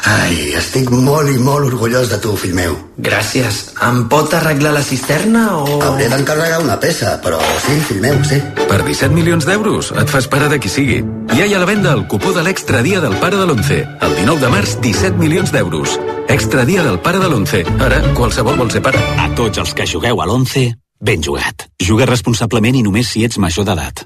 Ai, estic molt i molt orgullós de tu, fill meu. Gràcies. Em pot arreglar la cisterna o... Hauré d'encarregar una peça, però sí, fill meu, sí. Per 17 milions d'euros et fas pare de qui sigui. Ja hi ha a la venda el cupó de l'extra dia del pare de l'11. El 19 de març, 17 milions d'euros. Extra dia del pare de l'11. Ara, qualsevol vol ser pare. A tots els que jugueu a l'11, Ben jugat. Juga responsablement i només si ets major d'edat.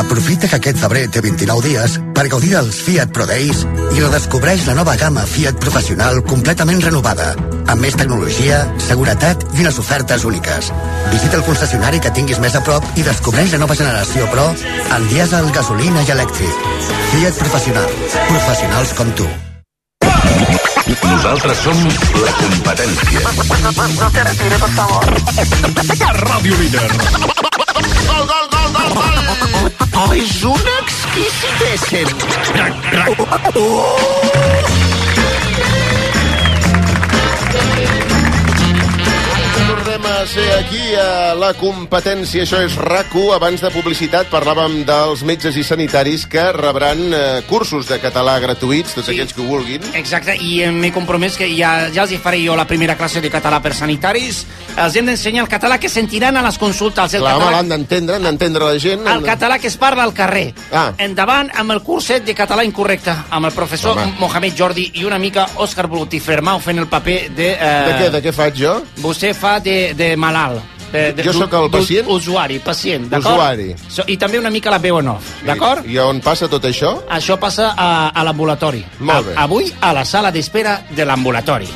Aprofita que aquest febrer té 29 dies per gaudir dels Fiat Pro Days i redescobreix la nova gamma Fiat Professional completament renovada, amb més tecnologia, seguretat i unes ofertes úniques. Visita el concessionari que tinguis més a prop i descobreix la nova generació Pro en dièsel, gasolina i elèctric. Fiat Professional. Professionals com tu. Nosaltres som la competència. No te retires, por favor. Ràdio Líder. Gol, gol, gol, gol, gol. Oh, és un exquisitessen. Crac, crac. Oh! Tornem a ser aquí a la competència, això és rac Abans de publicitat parlàvem dels metges i sanitaris que rebran eh, cursos de català gratuïts, tots sí. aquells que ho vulguin. Exacte, i eh, m'he compromès que ja, ja els hi faré jo la primera classe de català per sanitaris. Els hem d'ensenyar el català que sentiran a les consultes. El Clar, home, català, l'han d'entendre, han d'entendre la gent. el català que es parla al carrer. Ah. Endavant amb el curset de català incorrecte, amb el professor Home. Mohamed Jordi i una mica Òscar Brutifermau fent el paper de... Eh, De què, de què faig jo? Vostè fa de, de malalt. De, de, Jo sóc el d'u- pacient? Usuari, pacient, d'acord? Usuari. So, I també una mica la veu en off, d'acord? I on passa tot això? Això passa a, a l'ambulatori. Molt bé. A- Avui a la sala d'espera de l'ambulatori.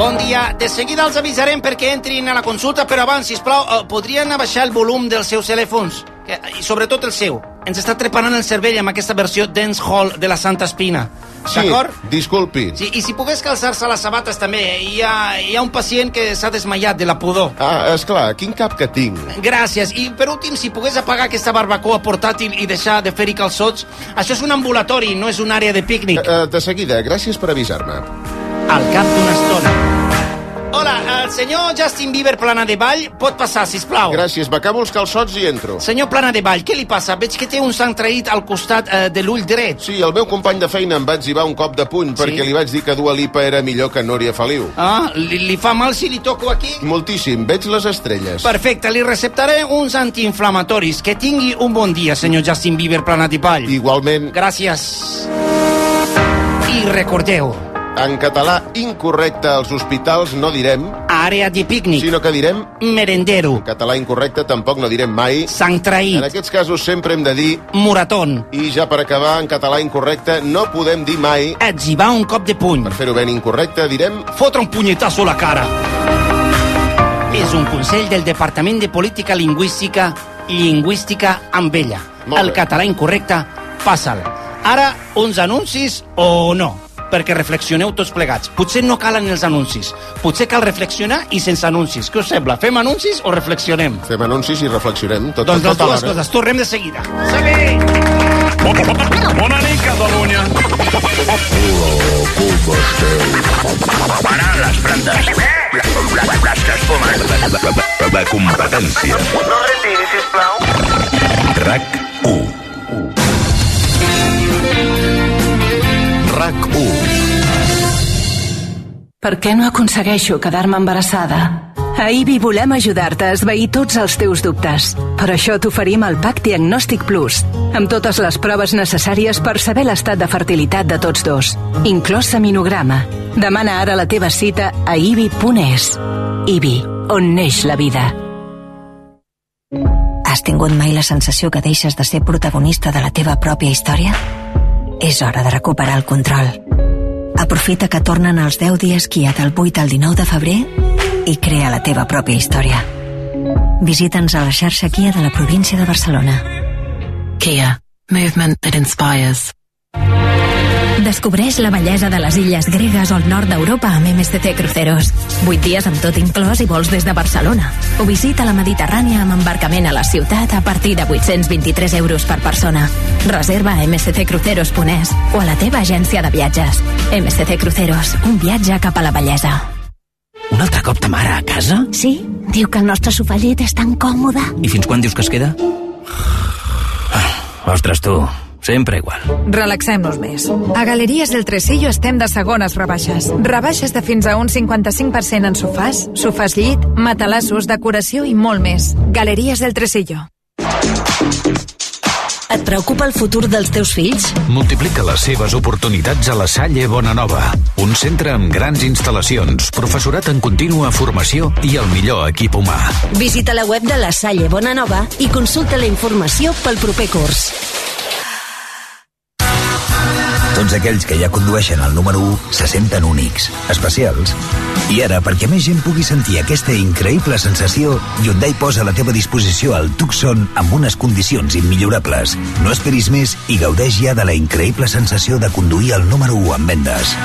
Bon dia. De seguida els avisarem perquè entrin a la consulta, però abans, sisplau, eh, podrien abaixar el volum dels seus telèfons, que, i sobretot el seu. Ens està treparant el cervell amb aquesta versió dance hall de la Santa Espina. Sí, D'acord? disculpi. Sí, I si pogués calçar-se les sabates també, hi ha, hi ha un pacient que s'ha desmaiat de la pudor. Ah, és clar, quin cap que tinc. Gràcies. I per últim, si pogués apagar aquesta barbacoa portàtil i deixar de fer-hi calçots, això és un ambulatori, no és un àrea de pícnic. Eh, de seguida, gràcies per avisar-me. Al cap d'una estona. Hola, el senyor Justin Bieber Plana de Vall pot passar, si plau. Gràcies, m'acabo els calçots i entro. Senyor Plana de Vall, què li passa? Veig que té un sang traït al costat eh, de l'ull dret. Sí, el meu company de feina em va exhibar un cop de puny sí? perquè li vaig dir que Dua Lipa era millor que Núria Feliu. Ah, li, li fa mal si li toco aquí? Moltíssim, veig les estrelles. Perfecte, li receptaré uns antiinflamatoris. Que tingui un bon dia, senyor Justin Bieber Planat i Pall. Igualment. Gràcies. I recordeu, En català incorrecte als hospitals no direm... Àrea de pícnic. Sinó que direm... Merendero. En català incorrecte tampoc no direm mai... Sang traït. En aquests casos sempre hem de dir... Moratón. I ja per acabar, en català incorrecte no podem dir mai... Exhibar un cop de puny. Per fer-ho ben incorrecte direm... Fotre un punyetazo a la cara. és un consell del Departament de Política Lingüística Lingüística amb ella. Molt El bé. català incorrecte, passa'l. Ara, uns anuncis o no? perquè reflexioneu tots plegats. Potser no calen els anuncis. Potser cal reflexionar i sense anuncis. Què us sembla? Fem anuncis o reflexionem? Fem anuncis i reflexionem. Tot, Doncs tot, les tot dues alhora. coses. Tornem de seguida. Bona nit, Catalunya. Com esteu? Parar les brandes. Eh? Les que es fumen. La competència. No retiri, sisplau. RAC 1. RAC 1. Per què no aconsegueixo quedar-me embarassada? A IBI volem ajudar-te a esvair tots els teus dubtes. Per això t'oferim el PAC Diagnòstic Plus, amb totes les proves necessàries per saber l'estat de fertilitat de tots dos, inclòs seminograma. Demana ara la teva cita a ibi.es. IBI, on neix la vida. Has tingut mai la sensació que deixes de ser protagonista de la teva pròpia història? És hora de recuperar el control. Aprofita que tornen els 10 dies Kia del 8 al 19 de febrer i crea la teva pròpia història. Visita'ns a la xarxa Kia de la província de Barcelona. Kia. Movement that inspires. Descobreix la bellesa de les illes gregues al nord d'Europa amb MSC Cruceros. 8 dies amb tot inclòs i vols des de Barcelona. O visita la Mediterrània amb embarcament a la ciutat a partir de 823 euros per persona. Reserva a msccruceros.es o a la teva agència de viatges. MSC Cruceros, un viatge cap a la bellesa. Un altre cop ta mare a casa? Sí, diu que el nostre sofà llit és tan còmode. I fins quan dius que es queda? Ah, Ostres, tu. Sempre igual. Relaxem-nos més. A Galeries del Tresillo estem de segones rebaixes. Rebaixes de fins a un 55% en sofàs, sofàs llit, matalassos, decoració i molt més. Galeries del Tresillo. Et preocupa el futur dels teus fills? Multiplica les seves oportunitats a la Salle Bonanova, un centre amb grans instal·lacions, professorat en contínua formació i el millor equip humà. Visita la web de la Salle Bonanova i consulta la informació pel proper curs. Tots aquells que ja condueixen el número 1 se senten únics, especials. I ara, perquè més gent pugui sentir aquesta increïble sensació, Hyundai posa a la teva disposició el Tucson amb unes condicions immillorables. No esperis més i gaudeix ja de la increïble sensació de conduir el número 1 en vendes.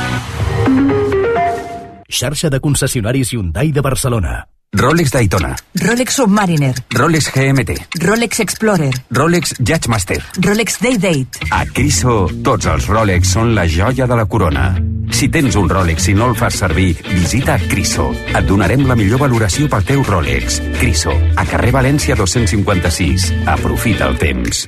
Xarxa de concessionaris Hyundai de Barcelona. Rolex Daytona, Rolex Submariner, Rolex GMT, Rolex Explorer, Rolex Judgemaster. Rolex Day Date. A Criso, tots els Rolex són la joia de la corona. Si tens un Rolex i no el fas servir, visita Criso. Et donarem la millor valoració pel teu Rolex. Criso, a carrer València 256. Aprofita el temps.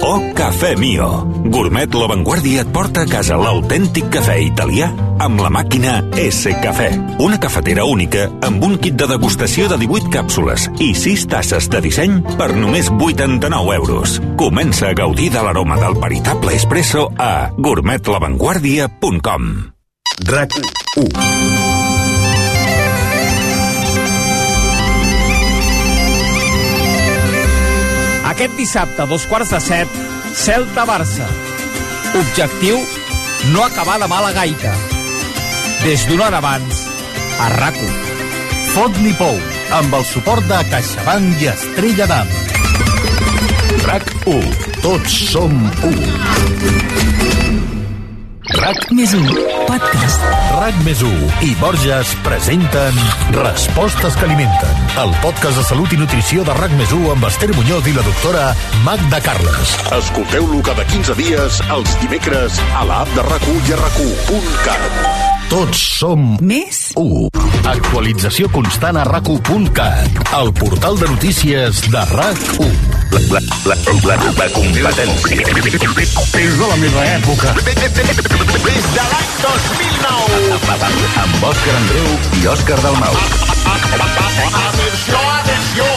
Oh Cafè Mio! Gourmet La Vanguardia et porta a casa l'autèntic cafè italià amb la màquina S Cafè. Una cafetera única amb un kit de degustació de 18 càpsules i 6 tasses de disseny per només 89 euros. Comença a gaudir de l'aroma del veritable espresso a gourmetlavanguardia.com RAC 1 Aquest dissabte, a dos quarts de set, Celta-Barça. Objectiu, no acabar de mala gaita. Des d'una hora abans, a RACO. Fot-li pou, amb el suport de CaixaBank i Estrella d'Am. RAC 1. Tots som 1. RAC més 1, podcast. RAC més 1 i Borges presenten Respostes que alimenten, el podcast de salut i nutrició de RAC més 1 amb Esther Muñoz i la doctora Magda Carles. Escolteu-lo cada 15 dies, els dimecres, a l'app de rac i a rac Tots som més 1. Actualització constant a rac1.cat, el portal de notícies de RAC1. La, la, la, la, la competència. És de la meva època. Des de l'any 2009. Amb Òscar Andreu i Òscar Dalmau. Atenció, atenció.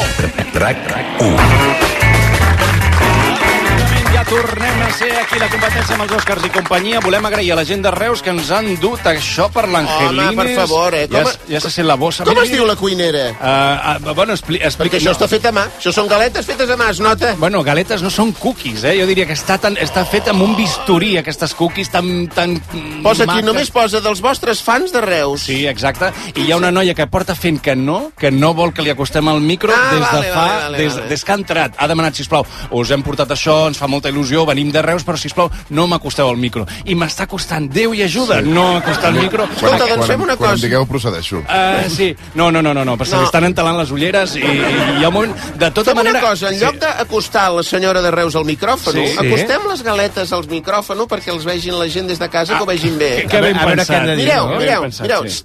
RAC 1. Ja tornem a ser aquí la competència amb els Oscars i companyia. Volem agrair a la gent de Reus que ens han dut això per l'Angelines. Home, per favor, eh? Ja, Com es- ja se sent la bossa. Com Mira, es diu la cuinera? Uh, uh, bueno, expli explica... Perquè això està fet a mà. Això són galetes fetes a mà, es nota. Bueno, galetes no són cookies, eh? Jo diria que està, tan, està fet amb un bisturí, aquestes cookies tan... tan Posa aquí, maques. només posa dels vostres fans de Reus. Sí, exacte. I hi ha una noia que porta fent que no, que no vol que li acostem el micro Ah, des de vale, fa... vale, vale, des, vale. des que ha entrat. Ha demanat, sisplau, us hem portat això, ens fa molta il·lusió, venim de Reus, però, sisplau, no m'acosteu al micro. I m'està costant, Déu i ajuda, sí. no acostar el micro. Quan, Aquest- doncs quan, quan em digueu procedeixo. Eh, Uh, sí, no, no, no, no, no, però se No. li estan entelant les ulleres i, i hi ha un moment... De tota Fem manera... una cosa, en lloc d'acostar la senyora de Reus al micròfon, Sí. acostem les galetes al micròfon perquè els vegin la gent des de casa, Ah, que ho vegin bé. que- que ben A veure- a veure pensat. què han de dir, Mireu, no? mireu, Ben pensat, mireu. sí.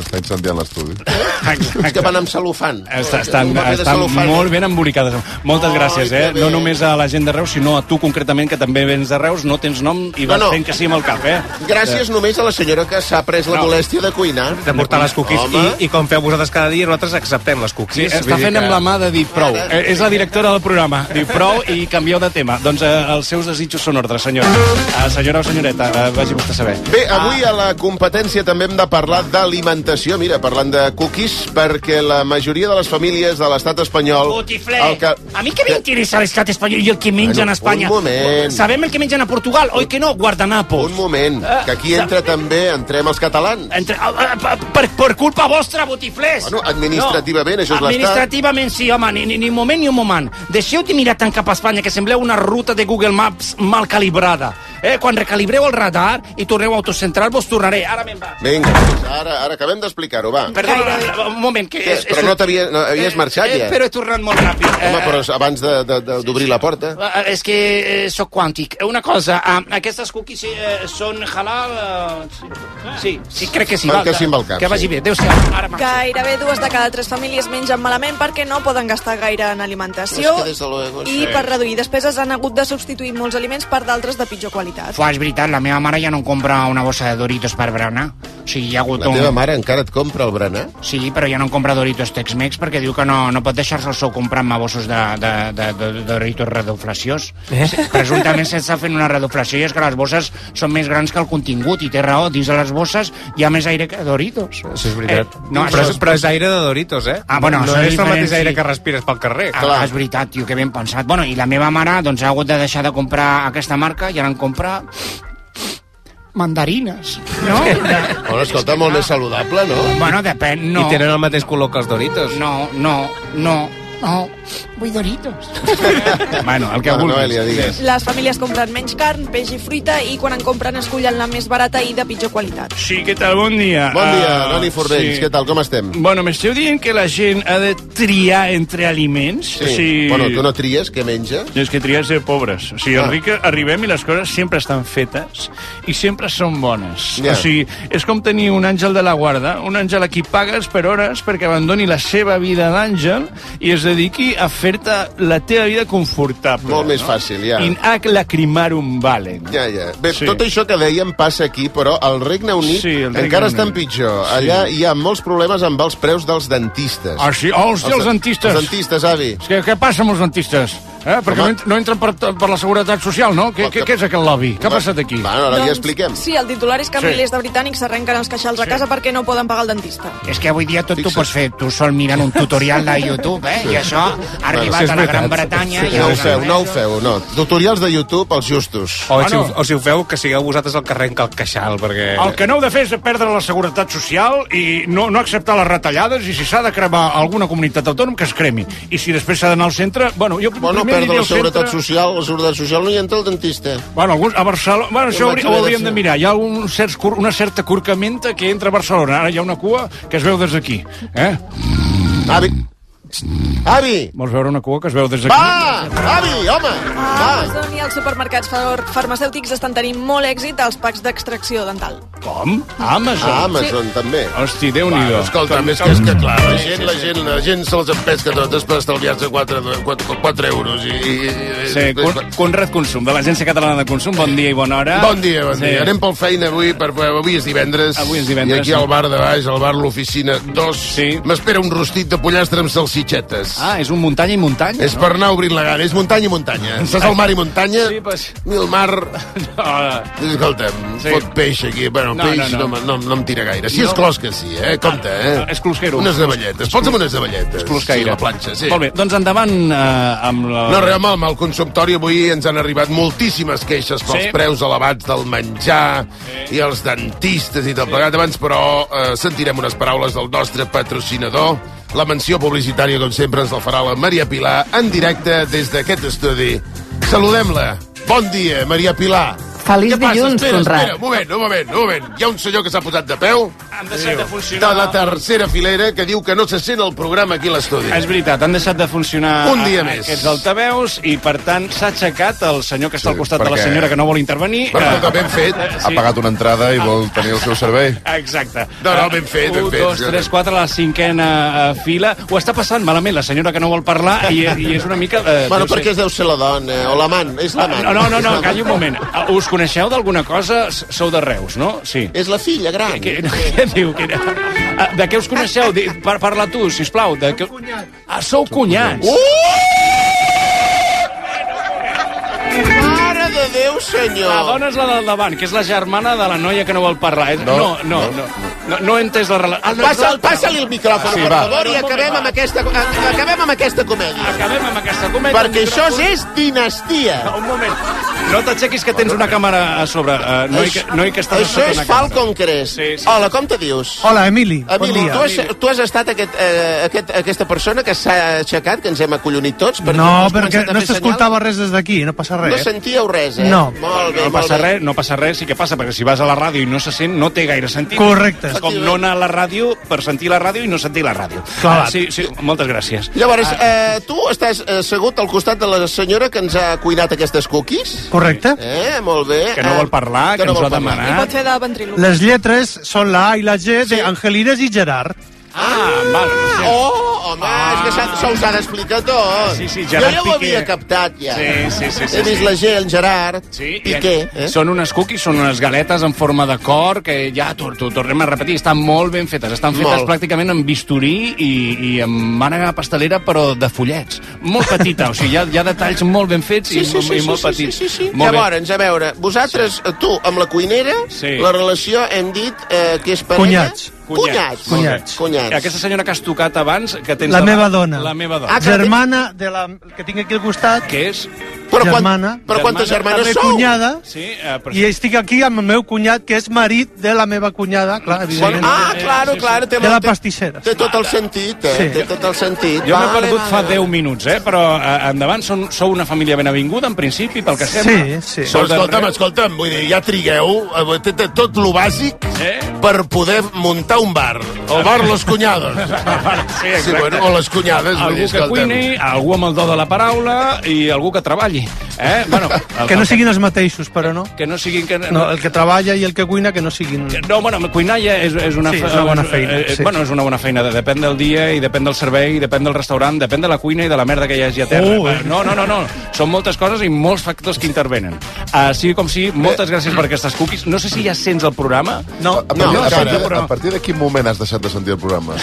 S'està incendiant l'estudi. Els que van amb cel·lofan. Està, estan Un paper de estan cel·lofan. molt ben embolicades. Moltes gràcies, eh? No només a la gent de Reus, sinó a tu concretament, que també vens de Reus, no tens nom i vas No, no. fent que sí amb el cap, eh? Gràcies només a la senyora que s'ha pres la No. molèstia de cuinar. de portar les cookies i, Home. i com feu vosaltres cada dia nosaltres acceptem les Sí, cookies està fent amb la mà de dir prou. Eh, És la directora del programa. Diu prou i canvieu de tema. Doncs eh, els seus desitjos són ordres, senyora. Eh, senyora o senyoreta, eh, vagi vostè a saber. Bé, avui a la competència també hem de parlar d'alimentació. Mira, parlant de cookies, perquè la majoria de les famílies de l'estat espanyol... Botifler. A mi què m'interessa l'estat espanyol i el que mengen Bueno, a Espanya? un moment. Sabem el que mengen a Portugal, oi que no? Guardanapos. Un moment, Que aquí entra també, entrem els catalans. Entre, a, a, a, per, per culpa vostra, botiflers! Bueno, administrativament, això és l'estat. Administrativament, sí, home, ni, ni, ni moment ni un moment. Deixeu de mirar tant cap a Espanya, que sembleu una ruta de Google Maps mal calibrada. Eh, quan recalibreu el radar i torneu a autocentrar-vos, tornaré. Ara me'n vaig. Vinga, doncs, ara, ara acabem deixa'm d'explicar-ho, va. Perdona, un moment, que Què? és... Però no, t'havia, no havies marxat, ja. Eh, però he tornat molt ràpid. Home, però abans de- de- de- d'obrir la porta... Eh, És que eh, sóc quàntic. Una cosa, ah, aquestes cookies eh, són halal... eh, Sí, sí, crec que sí. Fan va, que sí amb el cap, Que vagi sí. bé. Adéu-siau. Ara marxo. Gairebé dues de cada tres famílies mengen malament perquè no poden gastar gaire en alimentació Pues que desde luego, i sí. per reduir despeses han hagut de substituir molts aliments per d'altres de pitjor qualitat. Fuà, és veritat, la meva mare ja no em compra una bossa de Doritos per berenar. O sigui, hi ha hagut La un... teva mare encara et compra el berenar? Sí, però ja no em compra Doritos Tex-Mex perquè diu que no, no pot deixar-se el sou comprant-me bossos de, de, de, de, de Doritos redoflaciós. Eh? Presumptament s'està fent una redoflació i és que les bosses són més grans que el contingut i té raó, dins de les bosses hi ha més aire que Doritos. Això és veritat. Eh, no, no, però, això és, però és aire de Doritos, eh? Ah, bueno, no això és és el diferent, mateix aire sí. que respires pel carrer. Ah, és veritat, tio, que ben pensat. Bueno, i la meva mare doncs, ha hagut de deixar de comprar aquesta marca i ara en compra mandarines, no? Bueno, escolta, molt més saludable, no? Bueno, depèn, no. I tenen el mateix color que els Doritos. No, no, no, no. Vull Doritos. bueno, el que Bueno, vulguis. Noelia, digues. Les famílies compren menys carn, peix i fruita i quan en compren escullen la més barata i de pitjor qualitat. Sí, què tal? Bon dia. Bon dia, Dani Fornells, què tal, com estem? Bueno, m'esteu dient que la gent ha de triar entre aliments? Sí. Bueno, tu no tries què menja? No, és que triar és de pobres. O sigui, Ah. ah. ric arribem i les coses sempre estan fetes i sempre són bones. Ja. Yeah. O sigui, és com tenir un àngel de la guarda, un àngel a qui pagues per hores perquè abandoni la seva vida d'àngel i es dediqui a fer-te la teva vida confortable. Molt més no? fàcil, ja. In ac lacrimarum valen. Ja, ja. Bé, Sí. sí. tot això que dèiem passa aquí, però al Regne Sí, Unit sí, el Regne encara Unit. estan pitjor. Sí. Allà hi ha molts problemes amb els preus dels dentistes. Ah, sí? Oh, hòstia, els dentistes. Els dentistes, avi. És que, què passa amb els dentistes? Eh? Perquè no, ent- no entren per, per la Seguretat Social, no? Què, què, què és aquest lobby? Què ha passat aquí? Bueno, ara Doncs, Sí, el titular és que Sí. milers de britànics s'arrenquen els queixals a casa perquè no poden pagar el dentista. És que avui dia tot t'ho pots fer tu sol mirant un tutorial de YouTube, eh? Sí. I això ha arribat sí, és a la veritat. Gran Bretanya i No ho als feu, no ho feu, no. Tutorials de YouTube, els justos. O, si, ho- o si ho feu, que sigueu vosaltres el que arrenca el queixal, perquè... El que no heu de fer és perdre la seguretat social i no, no acceptar les retallades i si s'ha de cremar alguna comunitat autònoma que es cremi. I si després s'ha d'anar al centre... Bueno, jo Bueno, primer perdre aniré la al seguretat centre... social, la seguretat social no hi entra el dentista. Bueno, alguns, Doncs a Barcelona... Bueno, això Jo vaig hauria, ho haver de hauríem ser. de mirar. Hi ha un cert, cur- una certa curcamenta que entra a Barcelona. Ara hi ha una cua que es veu des d'aquí. Eh? Avi! Avi! Vols veure una cua que es veu des d'aquí? Va! Avi, home! Amazon i els supermercats far- farmacèutics estan tenint molt èxit als packs d'extracció dental. Com? A Amazon? A Ah, Amazon, també. Hosti, Déu-n'hi-do. Bueno, escolta, També més que és que clar, la Sí, gent, sí, la sí. gent, la gent se'ls empesca totes per estalviar-se 4, 4, 4 euros i... i, i Sí, Con- Conrad Consum, de l'Agència Catalana de Consum. Bon dia i bona hora. Bon dia, bon dia. Anem pel feina avui, per, avui és divendres. Avui és divendres, I aquí sí. al bar de baix, al bar l'oficina 2, sí. m'espera un rostit de pollastre amb salsitxetes. Ah, és un muntanya i muntanya. És per anar obrint la gana, és muntanya i muntanya. Estàs al mar i muntanya, Sí, pues... i el mar... *laughs* No, Escolta'm, Sí. sí. fot peix aquí. Bueno, No, no, peix no, no, no. no. No, no, no em tira gaire. Si no. No. Ah, és clos que sí, eh? Compte, eh? És closquero. Unes navalletes. Posa'm unes navalletes. És closcaire. Sí, a la planxa, sí. Molt bé, doncs endavant eh, amb la... No, realment, amb el consultori avui ens han arribat moltíssimes queixes pels Sí. sí. preus elevats del menjar sí. i els dentistes i tot sí. plegat abans, però eh, sentirem unes paraules del nostre patrocinador. La menció publicitària, com sempre, ens la farà la Maria Pilar en directe des d'aquest estudi. Saludem-la. Bon dia, Maria Pilar. Feliç Què passa? dilluns, espera, Doncs Conrad. Espera, un moment, un moment, un moment. Hi ha un senyor que s'ha posat de peu Han deixat de de funcionar... la tercera filera que diu que no se sent el programa aquí a l'estudi. És veritat, han deixat de funcionar Un dia a- més. aquests altaveus i, per tant, s'ha aixecat el senyor que està sí, al costat de la perquè- senyora que no vol intervenir. Bueno, Eh, però ben fet. Ha sí. Ah, pagat una entrada i vol tenir el seu servei. Exacte. Eh, No, no, ben fet, ben 1, fet. 2, 3, 4, la cinquena eh, fila. Ho està passant malament la senyora que no vol parlar i, i és una mica... Eh, bueno, deu ser- perquè es deu ser la dona, o l'amant, és l'amant. No, no, no, no, És l'amant. calli un moment. Ah, Us coneixeu d'alguna cosa? S- Sou de Reus, no? Sí. És la filla gran. Què, què *laughs* diu? Què... Ah, De què us coneixeu? Di- Par Parla tu, sisplau. De què... Ah, sou cunyats. Uh! Mare de Déu, senyor! La dona és la del davant, que és la germana de la noia que no vol parlar. No, no, no. no, no, no he entès la relació. Ah, no, Passa, no, no. passa-li el micròfon, Sí, sí, per va. favor, i acabem amb, aquesta, a- eh, acabem amb aquesta comèdia. Acabem amb aquesta comèdia. Perquè això és dinastia. Un moment. No t'aixequis que tens una càmera a sobre. Uh, no, hi, no hi que estàs Això és Falcon Crest. Sí, sí. Hola, com te dius? Hola, Emili. Emili, bon dia. tu, has, tu has estat aquest, eh, aquest, aquesta persona que s'ha aixecat, que ens hem acollonit tots? perquè No, has perquè començat a no fer s'escoltava res des d'aquí, no passa senyal. res. No sentíeu res, eh? No. Molt bé, no passa molt bé. res, no passa res, sí que passa, perquè si vas a la ràdio i no se sent, no té gaire sentit. Correcte. És com no anar a la ràdio per sentir la ràdio i no sentir la ràdio. Clar. Ah, sí, sí, moltes gràcies. Llavors, eh, tu estàs eh, assegut al costat de la senyora que ens ha cuinat aquestes cookies? Correcte. Eh, molt bé. Que no vol parlar, que ens ho ha vol parlar. I Ah. pot fer de ventríloc. Les lletres són la A i la G sí. d'Angelines i Gerard. Ah, val. Oh, home, ah. és que s'ha- se us ha d'explicar tot. Sí, sí, jo Gerard ja ho havia Piqué. captat, ja. eh. Sí, sí, sí, sí, He vist sí. la G, el Gerard, Sí, i Piqué. Eh? Són unes cookies, són unes galetes en forma de cor que ja t'ho t'ho tornem a repetir, estan molt ben fetes. Estan fetes Molt. pràcticament amb bisturí i, i amb mànega pastelera, però de fullets. Molt petita, o sigui, hi ha, hi ha detalls molt ben fets i, i, molt petits. Sí, sí, sí. Molt bé. Llavors, a veure, vosaltres, sí. tu, amb la cuinera, Sí. sí. la relació hem dit eh, que és parella... Cunyats. Cunyats. Cunyats. Cunyats. Aquesta senyora que has tocat abans, que tens La davant- meva dona. La meva dona. Ah, germana de la que tinc aquí al costat. Què és? Però germana. Quan, però quantes germanes la meva sou? cunyada. Sí, eh, però... I estic aquí amb el meu cunyat, que és marit de la meva cunyada, clar, evidentment. Ah, claro, claro. Té, De la té- pastissera. Té tot el sentit, eh? Sí. Té tot el sentit. Jo m'he Vale, perdut vale, fa vale. 10 minuts, eh? però eh, endavant són, sou una família ben avinguda, en principi, pel que Sí, sembla. sí. Sou de escolta'm, Reus. escolta'm, vull dir, ja trigueu, eh, té- té tot lo bàsic eh? per poder muntar un bar. El bar Los Cuñados. exacte. sí, bueno, o les cunyades. vull dir, Algú que escolta'm. cuini, algú amb el do de la paraula i algú que treballi. Eh? Bueno, el, Que no siguin els mateixos, però no. que no siguin... Que, No, el que treballa i el que cuina, que no siguin... No, bueno, cuinar ja és, és una, Sí, fe- és una bona feina, eh, eh, sí. Bueno, és una bona feina. de- Depèn del dia i depèn del servei, i depèn del restaurant, depèn de la cuina i de la merda que hi hagi a terra. Oh, eh. no, no, no, no. Són moltes coses i molts factors que intervenen. Uh, sigui com sigui, moltes gràcies per aquestes cookies. No sé si ja sents el programa. No, A partir, a, partir, a partir de quin moment has deixat de sentir el programa?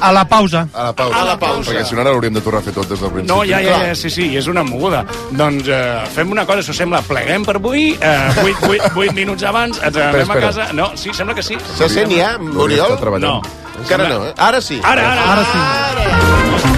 A la pausa. A la pausa. A la pausa. Perquè si no ara l'hauríem de tornar a fer tot des del principi. No, ja, ja, ja, sí, sí, és una moguda. Doncs eh, fem una cosa, si us sembla, pleguem per avui, eh, 8, 8, 8 minuts abans, ens Espera, anem a espera. casa... No, sí, sembla que sí. Se sent ja, Oriol? No. Encara no, eh? Ara sí. Ara, ara, ara sí.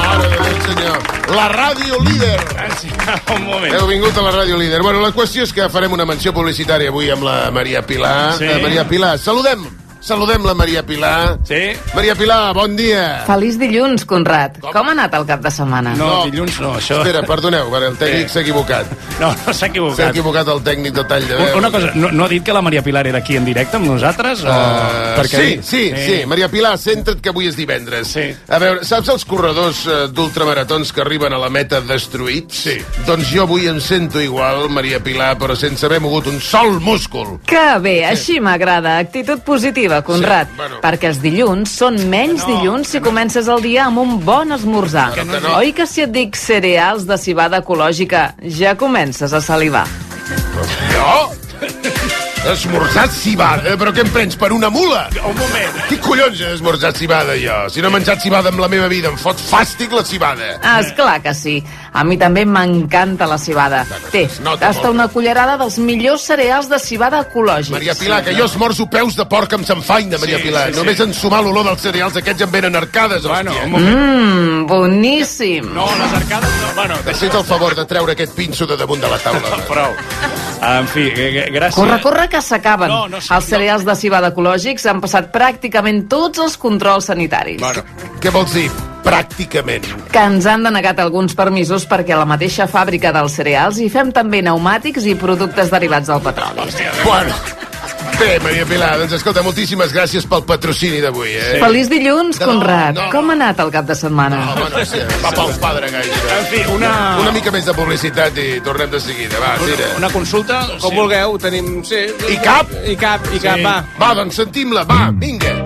Mare de Déu, senyor. La ràdio líder. Ah, Un moment. Heu vingut a la ràdio líder. Bueno, la qüestió és que farem una menció publicitària avui amb la Maria Pilar. Sí. Eh, Maria Pilar, saludem. Saludem la Maria Pilar. Sí. Maria Pilar, bon dia. Feliç dilluns, Conrad. Com, ha anat el cap de setmana? dilluns no, això... Espera, perdoneu, el tècnic Sí. s'ha equivocat. No, no s'ha equivocat. S'ha equivocat el tècnic de tall de veu. Una cosa, no, no ha dit que la Maria Pilar era aquí en directe amb nosaltres? O... Eh. Uh, sí, sí, sí, sí. Maria Pilar, centra't que avui és divendres. Sí. A veure, saps els corredors eh, d'ultramaratons que arriben a la meta destruïts? Sí. Doncs jo avui em sento igual, Maria Pilar, però sense haver mogut un sol múscul. Que bé, així m'agrada. Actitud positiva, Conrad. Perquè els dilluns són menys dilluns si comences el dia amb un bon esmorzar. Que no. Oi que si et dic cereals de cibada ecològica, ja comences a salivar? Eh. Jo? Esmorzar cibada? Però què em prens, per una mula? Un moment. Qui collons he esmorzat cibada, jo? Si no he menjat cibada amb la meva vida, em fot fàstic la cibada. Ah, és clar que sí. A mi també m'encanta la cibada. Té, nota tasta molt. una cullerada dels millors cereals de cibada ecològics. Maria Pilar, que jo esmorzo peus de porc amb s'enfany de Maria Sí, Pilar. sí, sí. Només en sumar l'olor dels cereals aquests em venen arcades, bueno, hòstia. Mmm, boníssim. No, les arcades no. Bueno, deixa't el favor de treure aquest pinso de damunt de la taula. *laughs* Prou. En fi, eh, eh, gràcies. Corre, corre, que s'acaben. No, no, els cereals de cibada ecològics han passat pràcticament tots els controls sanitaris. Bueno, què vols dir? Pràcticament. Que ens han denegat alguns permisos perquè a la mateixa fàbrica dels cereals hi fem també pneumàtics i productes derivats del petroli. Bueno, bé, Maria Pilar, doncs escolta, moltíssimes gràcies pel patrocini d'avui, eh? Feliç dilluns, Conrad. Com ha anat el cap de setmana? No, bueno, sí, va pel padre, gaire. En fi, una... Una mica més de publicitat i tornem de seguida, va, tira. Una consulta? Com vulgueu, tenim... Sí, I cap? I cap, i cap, Sí. va. Va, doncs sentim-la, va, vinga.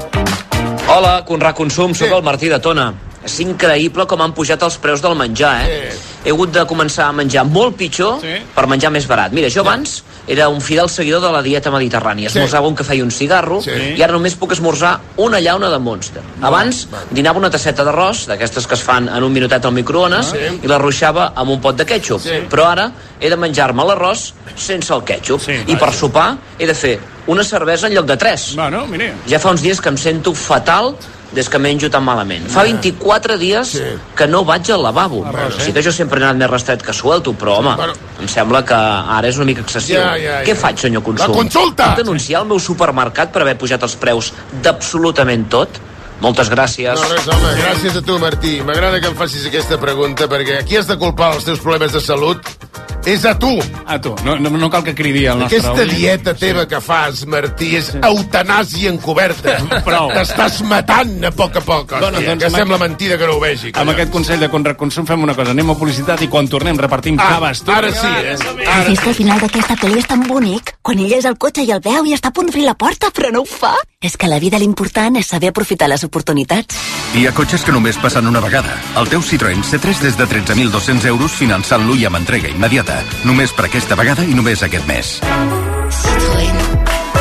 Hola, Conrad Consum, sóc el Martí de Tona. És increïble com han pujat els preus del menjar, eh? He hagut de començar a menjar molt pitjor sí. per menjar més barat. Mira, jo abans era un fidel seguidor de la dieta mediterrània. Sí. Esmorzava un cafè i un cigarro sí. i ara només puc esmorzar una llauna de Monster. Abans dinava una tasseta d'arròs, d'aquestes que es fan en un minutet al microones, Sí. i l'arruixava amb un pot de ketchup. Sí. Però ara he de menjar-me l'arròs sense el ketchup. I per sopar he de fer una cervesa en lloc de tres. Bueno, mira. Ja fa uns dies que em sento fatal des que menjo tan malament. Fa 24 dies que no vaig al lavabo. O eh? sigui que jo sempre he anat més restret que suelto, però, home, em sembla que ara és una mica excessiu. Ja, ja, ja. Què faig, senyor Consum? La consulta! Puc denunciar el meu supermercat per haver pujat els preus d'absolutament tot? Moltes gràcies. No, res, home, gràcies a tu, Martí. M'agrada que em facis aquesta pregunta, perquè aquí has de culpar els teus problemes de salut és a tu. A tu. No, no, no cal que cridi el nostre... Aquesta dieta teva que fas, Martí, és eutanàsia encoberta. *laughs* Prou. T'estàs matant a poc a poc, hòstia, Bueno, doncs que amb sembla aquest- mentida que no ho vegi. Amb collons. aquest consell de contraconsum fem una cosa, anem a publicitat i quan tornem repartim Ah, caves. Tu, ara sí, eh? El gest al final d'aquesta pel·li és tan bonic. Quan ell és al cotxe i el veu i està a punt d'obrir la porta, però no ho fa. És que a la vida l'important és saber aprofitar les oportunitats. Hi ha cotxes que només passen una vegada. El teu Citroën C3 des de 13.200 euros finançant-lo i amb entrega immediata. Només per aquesta vegada i només aquest mes.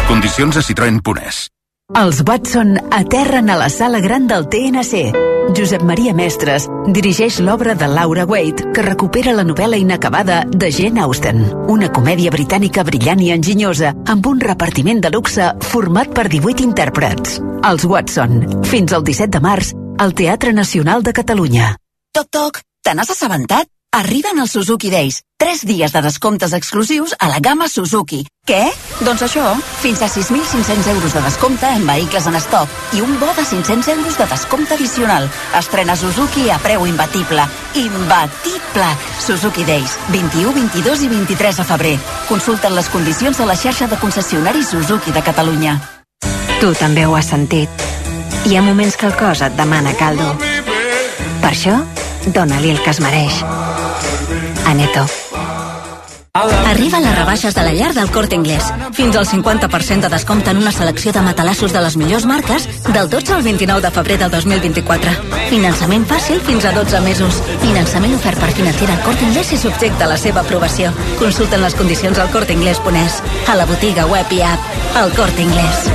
Condicions a Citroën.es. Els Watson aterren a la sala gran del TNC. Josep Maria Mestres dirigeix l'obra de Laura Waite que recupera la novel·la inacabada de Jane Austen, una comèdia britànica brillant i enginyosa amb un repartiment de luxe format per 18 intèrprets. Els Watson, fins al 17 de març, al Teatre Nacional de Catalunya. Toc, toc, te n'has assabentat? Arriben els Suzuki Days. 3 dies de descomptes exclusius a la gamma Suzuki. Què? Doncs això, fins a 6.500 euros de descompte en vehicles en estoc i un bo de 500 euros de descompte addicional. Estrena Suzuki a preu imbatible. Imbatible! Suzuki Days, 21, 22 i 23 de febrer. Consulten les condicions a la xarxa de concessionaris Suzuki de Catalunya. Tu també ho has sentit. Hi ha moments que el cos et demana caldo. Per això, dona-li el que es mereix. Aneto. Arriben les rebaixes de la llar del Corte Inglés. Fins al 50% de descompte en una selecció de matalassos de les millors marques del 12 al 29 de febrer del 2024. Finançament fàcil fins a 12 mesos. Finançament ofert per financera al Corte Inglés i subjecte a la seva aprovació. Consulten les condicions al corteinglés.es, a la botiga web i app. El Corte Inglés.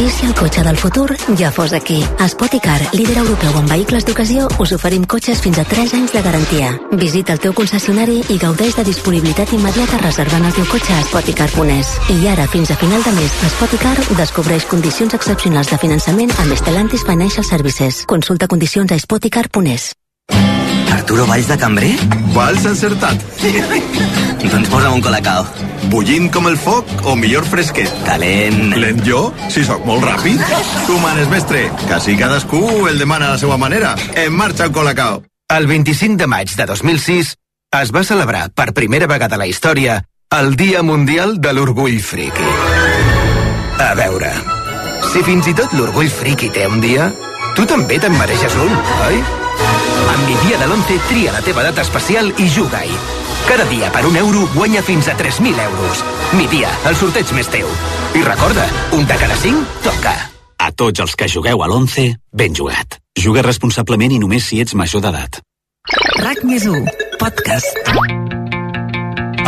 I si el cotxe del futur ja fos aquí? A Spoticar, líder europeu en vehicles d'ocasió, us oferim cotxes fins a 3 anys de garantia. Visita el teu concessionari i gaudeix de disponibilitat immediata reservant el teu cotxe a Spoticar.es. I ara, fins a final de mes, Spoticar descobreix condicions excepcionals de finançament amb Stellantis Financial Services. Consulta condicions a Spoticar.es. Arturo Valls de Cambrer? Valls encertat. *laughs* doncs posa'm un colacao. Bullint com el foc o millor fresquet? Calent. Lent jo? Si sóc molt ràpid. Tu manes, mestre, que si cadascú el demana a la seva manera. En marxa el colacao. El 25 de maig de 2006 es va celebrar per primera vegada a la història el Dia Mundial de l'Orgull Friki. A veure, si fins i tot l'orgull friki té un dia, tu també te'n mereixes un, oi? Amb mi dia de l'11 tria la teva data especial i juga-hi. Cada dia per un euro guanya fins a 3.000 euros. Mi dia, el sorteig més teu. I recorda, un de cada cinc toca. A tots els que jugueu a l'11, ben jugat. Juga responsablement i només si ets major d'edat. RAC més 1, podcast.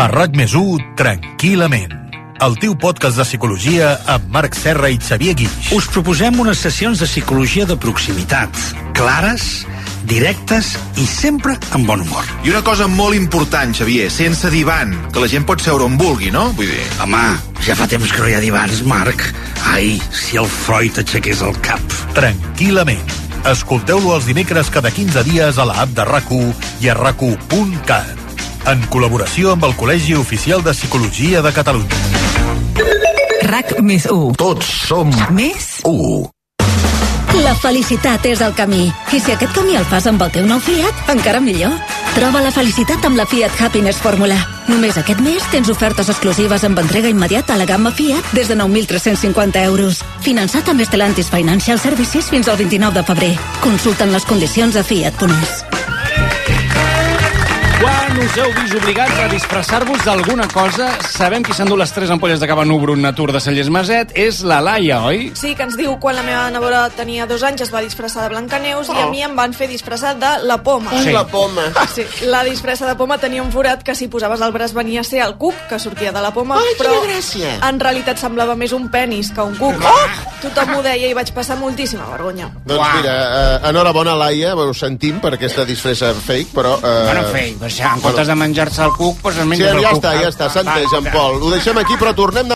A RAC més 1, tranquil·lament. El teu podcast de psicologia amb Marc Serra i Xavier Guix. Us proposem unes sessions de psicologia de proximitat, clares, directes i sempre amb bon humor. I una cosa molt important, Xavier, sense divan, que la gent pot seure on vulgui, no? Vull dir... Home, ja fa temps que no hi ha divans, Marc. Ai, si el Freud aixequés el cap. Tranquil·lament. Escolteu-lo els dimecres cada 15 dies a l'app de rac i a rac en col·laboració amb el Col·legi Oficial de Psicologia de Catalunya. RAC més 1. Tots som Més 1. La felicitat és el camí. I si aquest camí el fas amb el teu nou Fiat, encara millor. Troba la felicitat amb la Fiat Happiness Fórmula. Només aquest mes tens ofertes exclusives amb entrega immediata a la gamma Fiat des de 9.350 euros. Finançat amb Stellantis Financial Services fins al 29 de febrer. Consulten les condicions a Fiat.es. Quan us heu vist obligats a disfressar-vos d'alguna cosa, sabem qui s'endú les tres ampolles de cava Nubrun Natur de Cellers Maset és la Laia, oi? Sí, que ens diu quan la meva nevora tenia dos anys es va disfressar de Blancaneus oh. i a mi em van fer disfressar de la poma. Ui, Sí. la poma. Sí, la disfressa de poma tenia un forat que si posaves el braç venia a ser el cuc que sortia de la poma, Ai, quina però gràcia. en realitat semblava més un penis que un cuc. Oh! Tothom ho deia i vaig passar moltíssima vergonya. Doncs mira, eh, enhorabona, Laia, ho sentim per aquesta disfressa fake, però... Eh, Bueno, fake, però ja, en comptes de menjar-se el cuc, doncs es menja sí, el ja cuc. està, ja està, s'ha entès, en Pol. Ho deixem aquí, però tornem